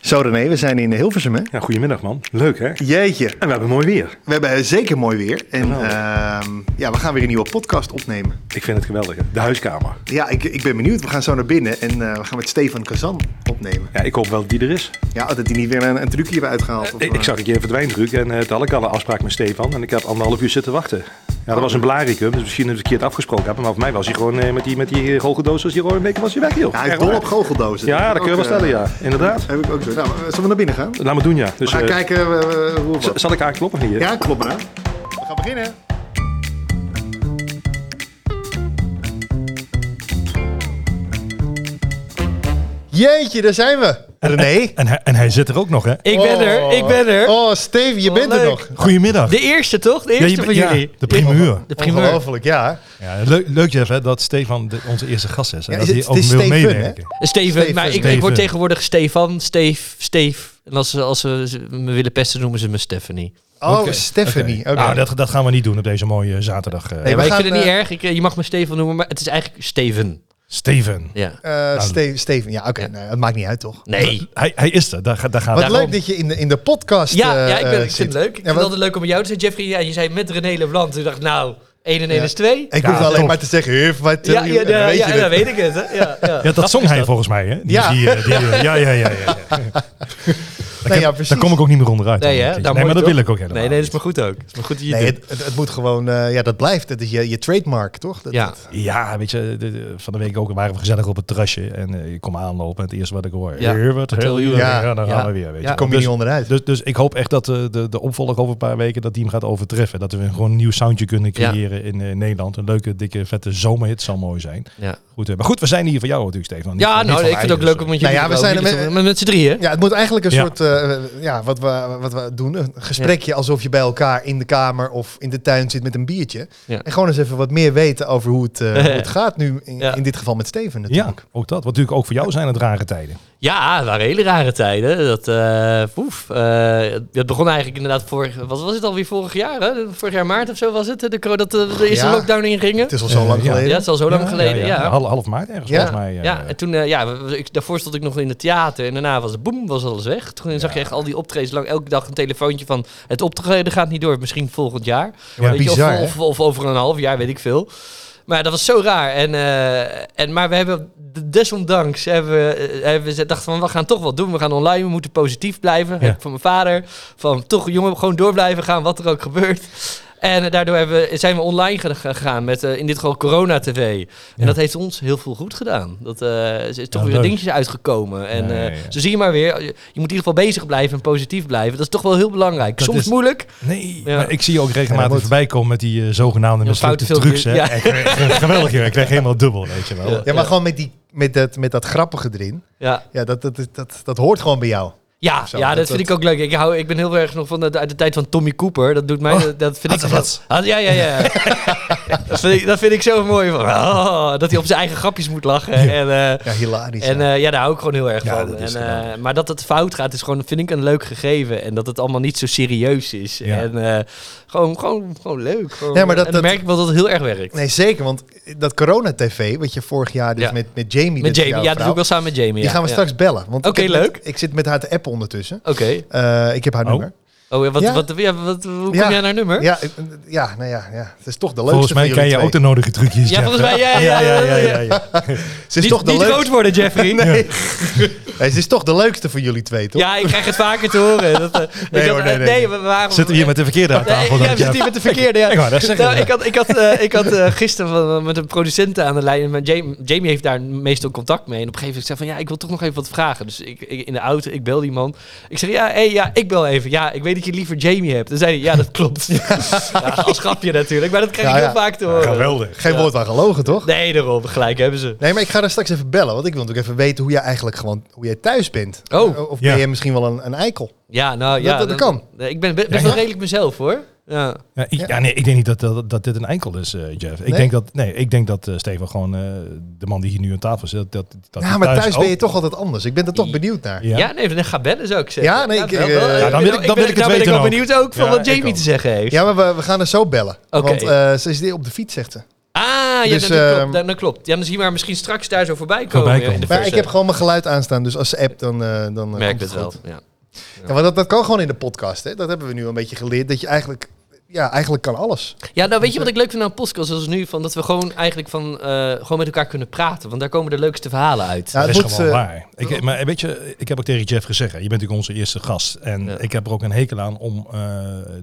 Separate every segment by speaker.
Speaker 1: Zo René, we zijn in Hilversum hè?
Speaker 2: Ja, goedemiddag man. Leuk hè? En
Speaker 1: Jeetje,
Speaker 2: we hebben mooi weer.
Speaker 1: we hebben zeker mooi weer. En
Speaker 2: Geweldig.
Speaker 1: ehm, ja, we gaan weer een nieuwe podcast opnemen.
Speaker 2: Ik vind het geweldig. hè. De huiskamer.
Speaker 1: Ja, ik, ik ben benieuwd. We gaan zo naar binnen en eh, we gaan met Stefan Kazan opnemen.
Speaker 2: Ja, ik hoop wel dat die er is.
Speaker 1: Ja, dat hij niet weer een, een trucje heeft uitgehaald. of,
Speaker 2: Ik, ik
Speaker 1: eh,
Speaker 2: zag een keer een verdwijndruk en eh, toen had ik al een afspraak met Stefan. En ik had anderhalf uur zitten wachten. Ja, dat was een belaricum, dus misschien heb ik verkeerd afgesproken. hebben, Maar voor mij was hij gewoon eh, met die, met die goocheldoos als hij gewoon een week was hij weg joh.
Speaker 1: Ja, hij is
Speaker 2: Echt
Speaker 1: dol
Speaker 2: waar.
Speaker 1: op goocheldozen. eh,
Speaker 2: Ja, dat kun je wel stellen ja. Inderdaad.
Speaker 1: Heb ik ook zo. Nou, eh, zullen we naar binnen gaan? We
Speaker 2: Laat maar doen ja. Dus,
Speaker 1: gaan
Speaker 2: eh,
Speaker 1: kijken eh, eh, hoe we...
Speaker 2: z- zal ik aankloppen hier?
Speaker 1: Ja, klopt maar. We gaan beginnen. Jeetje, daar zijn we. René.
Speaker 3: En hij, en hij zit er ook nog, hè?
Speaker 4: Ik ben er, ik ben er.
Speaker 1: Oh, Steve, je
Speaker 4: Oh,
Speaker 1: bent er
Speaker 4: leuk.
Speaker 1: nog.
Speaker 3: Goedemiddag.
Speaker 4: De eerste toch? De
Speaker 3: Ja,
Speaker 4: eerste
Speaker 3: je-
Speaker 4: van
Speaker 3: ja,
Speaker 4: jullie.
Speaker 3: de primeur.
Speaker 4: De primeur.
Speaker 1: Ongelooflijk, ja.
Speaker 3: Ja, leuk, leuk, Jeff, hè, dat Stefan de- onze eerste gast is. En
Speaker 1: Ja,
Speaker 3: dat
Speaker 1: is
Speaker 3: hij
Speaker 1: het-
Speaker 3: ook
Speaker 1: het is
Speaker 3: wil
Speaker 1: Stefan, Oh,
Speaker 3: meewerken.
Speaker 4: Steven,
Speaker 1: Steven.
Speaker 4: maar ik, ik
Speaker 3: Steven.
Speaker 4: word tegenwoordig Stefan, Steef, Steef. En als ze, als ze ze me willen pesten, noemen ze me Stephanie.
Speaker 1: Oh,
Speaker 3: Oké,
Speaker 1: Stephanie.
Speaker 3: oké.
Speaker 1: oké.
Speaker 3: Nou, dat, dat gaan we niet doen op deze mooie zaterdag. eh.
Speaker 1: Nee,
Speaker 4: Ja,
Speaker 1: we
Speaker 4: maar ik
Speaker 1: gaan,
Speaker 4: vind het niet
Speaker 1: eh,
Speaker 4: erg. Ik, eh, je mag me Stefan noemen, maar het is eigenlijk Steven.
Speaker 3: Steven.
Speaker 4: Ja.
Speaker 1: Eh,
Speaker 4: Nou,
Speaker 1: Ste- Steven, ja, oké. nee, dat maakt niet uit, toch?
Speaker 4: Nee.
Speaker 3: Hij, hij is er, daar, ga- daar gaat
Speaker 1: Wat
Speaker 3: het
Speaker 1: leuk dat je in de, in de podcast
Speaker 4: Ja,
Speaker 1: eh,
Speaker 4: ja ik, ben,
Speaker 1: eh,
Speaker 4: ik vind
Speaker 1: zit.
Speaker 4: het leuk. Ik
Speaker 1: Ja,
Speaker 4: vind het
Speaker 1: want-
Speaker 4: altijd leuk om jou te zijn, Jeffrey. Ja, je zei met René Leblanc. Toen dacht ik, nou, 1 en 1
Speaker 1: Ja.
Speaker 4: is 2.
Speaker 1: Ik
Speaker 3: Ja,
Speaker 1: hoef alleen
Speaker 3: toch.
Speaker 1: maar te zeggen, huf, wat...
Speaker 4: Ja,
Speaker 1: eh,
Speaker 4: ja,
Speaker 1: dan
Speaker 4: ja,
Speaker 1: weet
Speaker 4: ja, ja,
Speaker 1: je het.
Speaker 4: dan weet ik het. Hè. Ja, ja.
Speaker 3: Ja, dat zong hij volgens mij, hè? Die-
Speaker 1: Ja.
Speaker 3: die, eh, die, eh, ja, ja, ja. ja, ja. Daar,
Speaker 1: Nee, ja,
Speaker 3: kan-
Speaker 1: precies.
Speaker 3: daar kom ik ook niet meer onderuit.
Speaker 4: Nee, hè?
Speaker 3: hoor.
Speaker 4: Nou,
Speaker 3: nee
Speaker 4: mooi
Speaker 3: maar dat
Speaker 4: toch?
Speaker 3: wil ik ook helemaal
Speaker 4: Nee, nee, dat is maar goed ook. Dat is maar goed dat je het
Speaker 1: Nee,
Speaker 4: doet.
Speaker 1: het, het, het moet gewoon... eh, ja, dat blijft. Dat is je, je trademark, toch? Dat,
Speaker 4: Ja.
Speaker 3: niet. Ja, weet je, de- de- van de week ook waren we gezellig op het terrasje. En eh, ik kom aanlopen en het eerste wat ik hoor...
Speaker 4: Ja.
Speaker 3: Hier, wat heel
Speaker 4: Ja.
Speaker 3: jullie. Ja, dan
Speaker 4: Ja.
Speaker 3: gaan we weer, weet je.
Speaker 4: Ja.
Speaker 1: Kom je
Speaker 3: Dus-
Speaker 1: niet onderuit.
Speaker 3: Dus, dus ik hoop echt dat eh, de, de opvolger over een paar weken dat die hem gaat overtreffen. Dat we gewoon een nieuw soundje kunnen
Speaker 4: Ja.
Speaker 3: creëren in eh, Nederland. Een leuke, dikke, vette zomerhit zal mooi zijn.
Speaker 4: Ja,
Speaker 3: Goed, eh, maar goed, we zijn hier voor jou natuurlijk, Stefan. Niet
Speaker 4: ja
Speaker 3: voor- niet
Speaker 4: nou,
Speaker 3: voor
Speaker 4: ik vind het
Speaker 3: mij,
Speaker 4: ook
Speaker 3: dus,
Speaker 4: leuk om met
Speaker 1: Nou
Speaker 4: jullie
Speaker 1: ja, we
Speaker 4: wel-
Speaker 1: zijn er
Speaker 4: jullie
Speaker 1: met-
Speaker 4: te- met, met z'n drieën.
Speaker 1: Ja, het moet eigenlijk een
Speaker 3: Ja.
Speaker 1: soort, eh, ja, wat we, wat we doen, een gesprekje alsof je bij elkaar in de kamer of in de tuin zit met een biertje.
Speaker 4: Ja.
Speaker 1: En gewoon eens even wat meer weten over hoe het, eh, hoe het gaat nu, in,
Speaker 4: Ja.
Speaker 1: in dit geval met Steven
Speaker 3: eh, Ja,
Speaker 1: natuurlijk.
Speaker 3: ook dat. Wat natuurlijk ook voor jou zijn het rare tijden.
Speaker 4: Ja, het waren hele rare tijden. Dat, eh, poef, eh, het begon eigenlijk inderdaad vorig... Wat was het alweer vorig jaar? Hè? Vorig jaar maart of zo was het? De, coro- dat eh, de eerste
Speaker 1: Ja.
Speaker 4: lockdown ingingen?
Speaker 1: Het is al zo
Speaker 3: Eh,
Speaker 1: lang
Speaker 3: ja.
Speaker 1: geleden.
Speaker 4: Ja, het is al zo lang geleden, ja.
Speaker 3: Hal- Half, maart ergens
Speaker 1: Ja.
Speaker 3: volgens mij. eh,
Speaker 4: Ja, en toen, eh, ja, we- we- ik, daarvoor stond ik nog in het theater en daarna was het boem, was alles weg. Toen zag je echt al die optredens lang, elke dag een telefoontje van het optreden gaat niet door, misschien volgend jaar.
Speaker 1: maar
Speaker 4: Weet je,
Speaker 1: bizar, hè?
Speaker 4: of, of, of over een half jaar, weet ik veel. Maar dat was zo raar. En, eh, en, maar we hebben, desondanks hebben we, eh, hebben we dachten van, we gaan toch wat doen. We gaan online, we moeten positief blijven. Heb ik Van mijn vader, van toch jongen, gewoon door blijven gaan, wat er ook gebeurt. En eh, daardoor hebben we, zijn we online ge- gegaan met eh, in dit geval Corona TV. En
Speaker 3: Ja.
Speaker 4: dat heeft ons heel veel goed gedaan. Dat eh, is is toch
Speaker 3: Ja,
Speaker 4: weer
Speaker 3: leuk.
Speaker 4: dingetjes uitgekomen. En
Speaker 3: Ja, ja,
Speaker 4: eh,
Speaker 3: ja.
Speaker 4: zo zie je maar weer, je je moet in ieder geval bezig blijven en positief blijven. Dat is toch wel heel belangrijk.
Speaker 3: Dat
Speaker 4: Soms
Speaker 3: is-
Speaker 4: moeilijk.
Speaker 3: Nee,
Speaker 4: Ja.
Speaker 3: maar ik zie je ook
Speaker 1: Ja,
Speaker 3: regelmatig
Speaker 1: dat
Speaker 3: voorbij komen met die eh, zogenaamde
Speaker 4: Ja,
Speaker 3: mislukte
Speaker 4: foute
Speaker 3: trucs. Hè.
Speaker 4: filmpjes,
Speaker 3: Echt, eh, Geweldig, joh. Ik kreeg helemaal dubbel, weet je wel.
Speaker 4: Ja.
Speaker 1: Ja, maar gewoon met, die, met, dat, met dat grappige erin,
Speaker 4: Ja,
Speaker 1: ja, dat, dat, dat, dat, dat hoort gewoon bij jou.
Speaker 4: ja,
Speaker 1: Zo,
Speaker 4: ja dat,
Speaker 1: dat-
Speaker 4: vind ik ook leuk. Ik, hou, ik ben heel erg nog van de, uit de tijd van Tommy Cooper. Dat doet mij, dat, dat vind ik...
Speaker 3: Oh, had- had-
Speaker 4: Ah, ja, ja, ja. dat, vind ik, dat vind ik zo mooi. Van, oh, dat hij op zijn eigen grapjes moet lachen. En, eh,
Speaker 1: Ja, hilarisch.
Speaker 4: En
Speaker 1: ja.
Speaker 4: eh, ja, daar hou ik gewoon heel erg
Speaker 3: Ja,
Speaker 4: van.
Speaker 3: dat
Speaker 4: En,
Speaker 3: is
Speaker 4: eh,
Speaker 3: geweldig.
Speaker 4: maar dat het fout gaat, is gewoon, vind ik een leuk gegeven. En dat het allemaal niet zo serieus is.
Speaker 3: Ja.
Speaker 4: En eh, gewoon, gewoon, gewoon leuk. Gewoon,
Speaker 1: Ja, maar dat-
Speaker 4: en dan
Speaker 1: dat-
Speaker 4: merk ik wel dat het heel erg werkt.
Speaker 1: Nee, zeker, want dat corona-tv, wat je vorig jaar dus
Speaker 4: Ja.
Speaker 1: met, met Jamie...
Speaker 4: met
Speaker 1: dit
Speaker 4: Jamie.
Speaker 1: jouw
Speaker 4: Ja, dat doe
Speaker 1: vrouw,
Speaker 4: ik wel samen met Jamie.
Speaker 1: Die
Speaker 4: ja.
Speaker 1: gaan we
Speaker 4: Ja.
Speaker 1: straks bellen. want ik
Speaker 4: Oké,
Speaker 1: heb met-
Speaker 4: leuk.
Speaker 1: Ik zit met haar te appen ondertussen.
Speaker 4: Oké.
Speaker 1: Eh, ik heb haar
Speaker 3: Oh.
Speaker 1: nummer.
Speaker 4: Oh, ja, wat,
Speaker 1: Ja.
Speaker 4: Wat, ja, wat, hoe kom
Speaker 1: Ja.
Speaker 4: jij naar nummer?
Speaker 1: Ja, ik- ja, nou ja, ja, het is toch de leukste
Speaker 3: Volgens mij
Speaker 1: van
Speaker 3: ken
Speaker 1: jullie
Speaker 3: je
Speaker 1: twee.
Speaker 3: ook de nodige trucjes.
Speaker 4: Ja,
Speaker 3: Jeff,
Speaker 4: volgens
Speaker 3: hè?
Speaker 4: mij, ja,
Speaker 3: ja, ja, ja, ja, ja.
Speaker 1: Ze is
Speaker 4: Niet,
Speaker 1: toch de
Speaker 4: niet
Speaker 1: leukste.
Speaker 4: groot worden, Jeffrey.
Speaker 1: Nee. Hey, ze is toch de leukste van jullie twee, toch?
Speaker 4: Ja, ik krijg het vaker te horen. Dat, eh, ik
Speaker 1: Nee,
Speaker 4: had-
Speaker 1: hoor, nee,
Speaker 4: eh,
Speaker 1: nee, nee.
Speaker 4: we waren...
Speaker 3: Zitten we hier met de verkeerde aan
Speaker 4: Nee,
Speaker 3: tafel?
Speaker 4: ja,
Speaker 3: dan,
Speaker 4: we zitten
Speaker 3: Jeff?
Speaker 4: hier met de verkeerde. Ja.
Speaker 3: Ik wou dat zeggen,
Speaker 4: Nou,
Speaker 3: ja.
Speaker 4: ik had, ik had, eh, ik had eh, gisteren met een producent aan de lijn. Maar Jamie, Jamie heeft daar meestal contact mee. En op een gegeven moment zei ik van ja, ik wil toch nog even wat vragen. Dus ik, ik- in de auto, ik bel die man. Ik zeg ja, hey, ja, ik bel even. Ja, ik weet dat je liever Jamie hebt. Dan zei hij ja, dat klopt. Ja, als grapje natuurlijk. Maar dat krijg
Speaker 1: Ja,
Speaker 4: ik
Speaker 1: ja.
Speaker 4: heel vaak te horen.
Speaker 3: Geweldig.
Speaker 1: Geen
Speaker 4: Ja.
Speaker 1: woord aan gelogen, toch?
Speaker 4: Nee, daarom. Gelijk hebben ze.
Speaker 1: Nee, maar ik ga daar straks even bellen, want ik wil natuurlijk even weten hoe jij eigenlijk gewoon hoe jij thuis bent.
Speaker 4: Oh.
Speaker 1: Of
Speaker 3: Ja.
Speaker 1: ben je misschien wel een, een eikel?
Speaker 4: Ja, nou ja.
Speaker 1: Dat- dat kan.
Speaker 4: Nee, Ik ben be- best
Speaker 3: Ja,
Speaker 4: wel
Speaker 3: ja.
Speaker 4: redelijk mezelf hoor. Ja.
Speaker 3: Ja, ik, ja. nee, ik denk niet dat, dat, dat dit een enkel is, eh, Jeff. Ik
Speaker 1: Nee?
Speaker 3: denk dat, nee, ik denk dat eh, Steven gewoon eh, de man die hier nu aan tafel zit. Dat, dat
Speaker 1: Ja,
Speaker 3: hij
Speaker 1: maar thuis ben je
Speaker 3: ook-
Speaker 1: toch altijd anders. Ik ben er toch benieuwd naar.
Speaker 3: Ja.
Speaker 4: Ja, nee, dan ga bellen zou ik zeggen.
Speaker 1: Ja, nee, ik-
Speaker 4: wel- wel-
Speaker 1: eh, ja,
Speaker 3: dan wil ik- dan wil ik het
Speaker 4: nou ben ik
Speaker 3: weten
Speaker 4: wel
Speaker 3: ook.
Speaker 4: benieuwd ook van
Speaker 3: Ja,
Speaker 4: wat
Speaker 3: ik
Speaker 4: Jamie
Speaker 3: ook.
Speaker 4: te zeggen heeft.
Speaker 1: Ja, maar we, we gaan er zo bellen.
Speaker 4: Oké.
Speaker 1: Want eh, ze is hier op de fiets, zegt ze.
Speaker 4: Ah, ja,
Speaker 1: Dus,
Speaker 4: dat, dat
Speaker 1: ehm,
Speaker 4: klopt, dat, dat klopt. Ja, dan zien we haar misschien straks daar zo voorbij komen.
Speaker 3: Voorbij
Speaker 4: eh,
Speaker 3: komen.
Speaker 4: In de
Speaker 1: Maar ik
Speaker 4: verse.
Speaker 1: heb gewoon mijn geluid aanstaan, dus als ze app dan... eh dan eh,
Speaker 4: merk
Speaker 1: komt
Speaker 4: het wel.
Speaker 1: goed.
Speaker 4: Ja.
Speaker 1: Ja, maar dat, dat kan gewoon in de podcast, hè. Dat hebben we nu al een beetje geleerd, dat je eigenlijk... Ja, eigenlijk kan alles.
Speaker 4: ja, nou weet
Speaker 1: Dus, eh,
Speaker 4: je wat ik leuk vind aan podcasts zoals nu? Van dat we gewoon eigenlijk van, eh, gewoon met elkaar kunnen praten. Want daar komen de leukste verhalen uit.
Speaker 1: Ja,
Speaker 3: dat is gewoon
Speaker 1: eh,
Speaker 3: waar. Ik, maar weet je, ik heb ook tegen Jeff gezegd, hè, je bent natuurlijk onze eerste gast. En
Speaker 4: Ja.
Speaker 3: ik heb er ook een hekel aan om eh,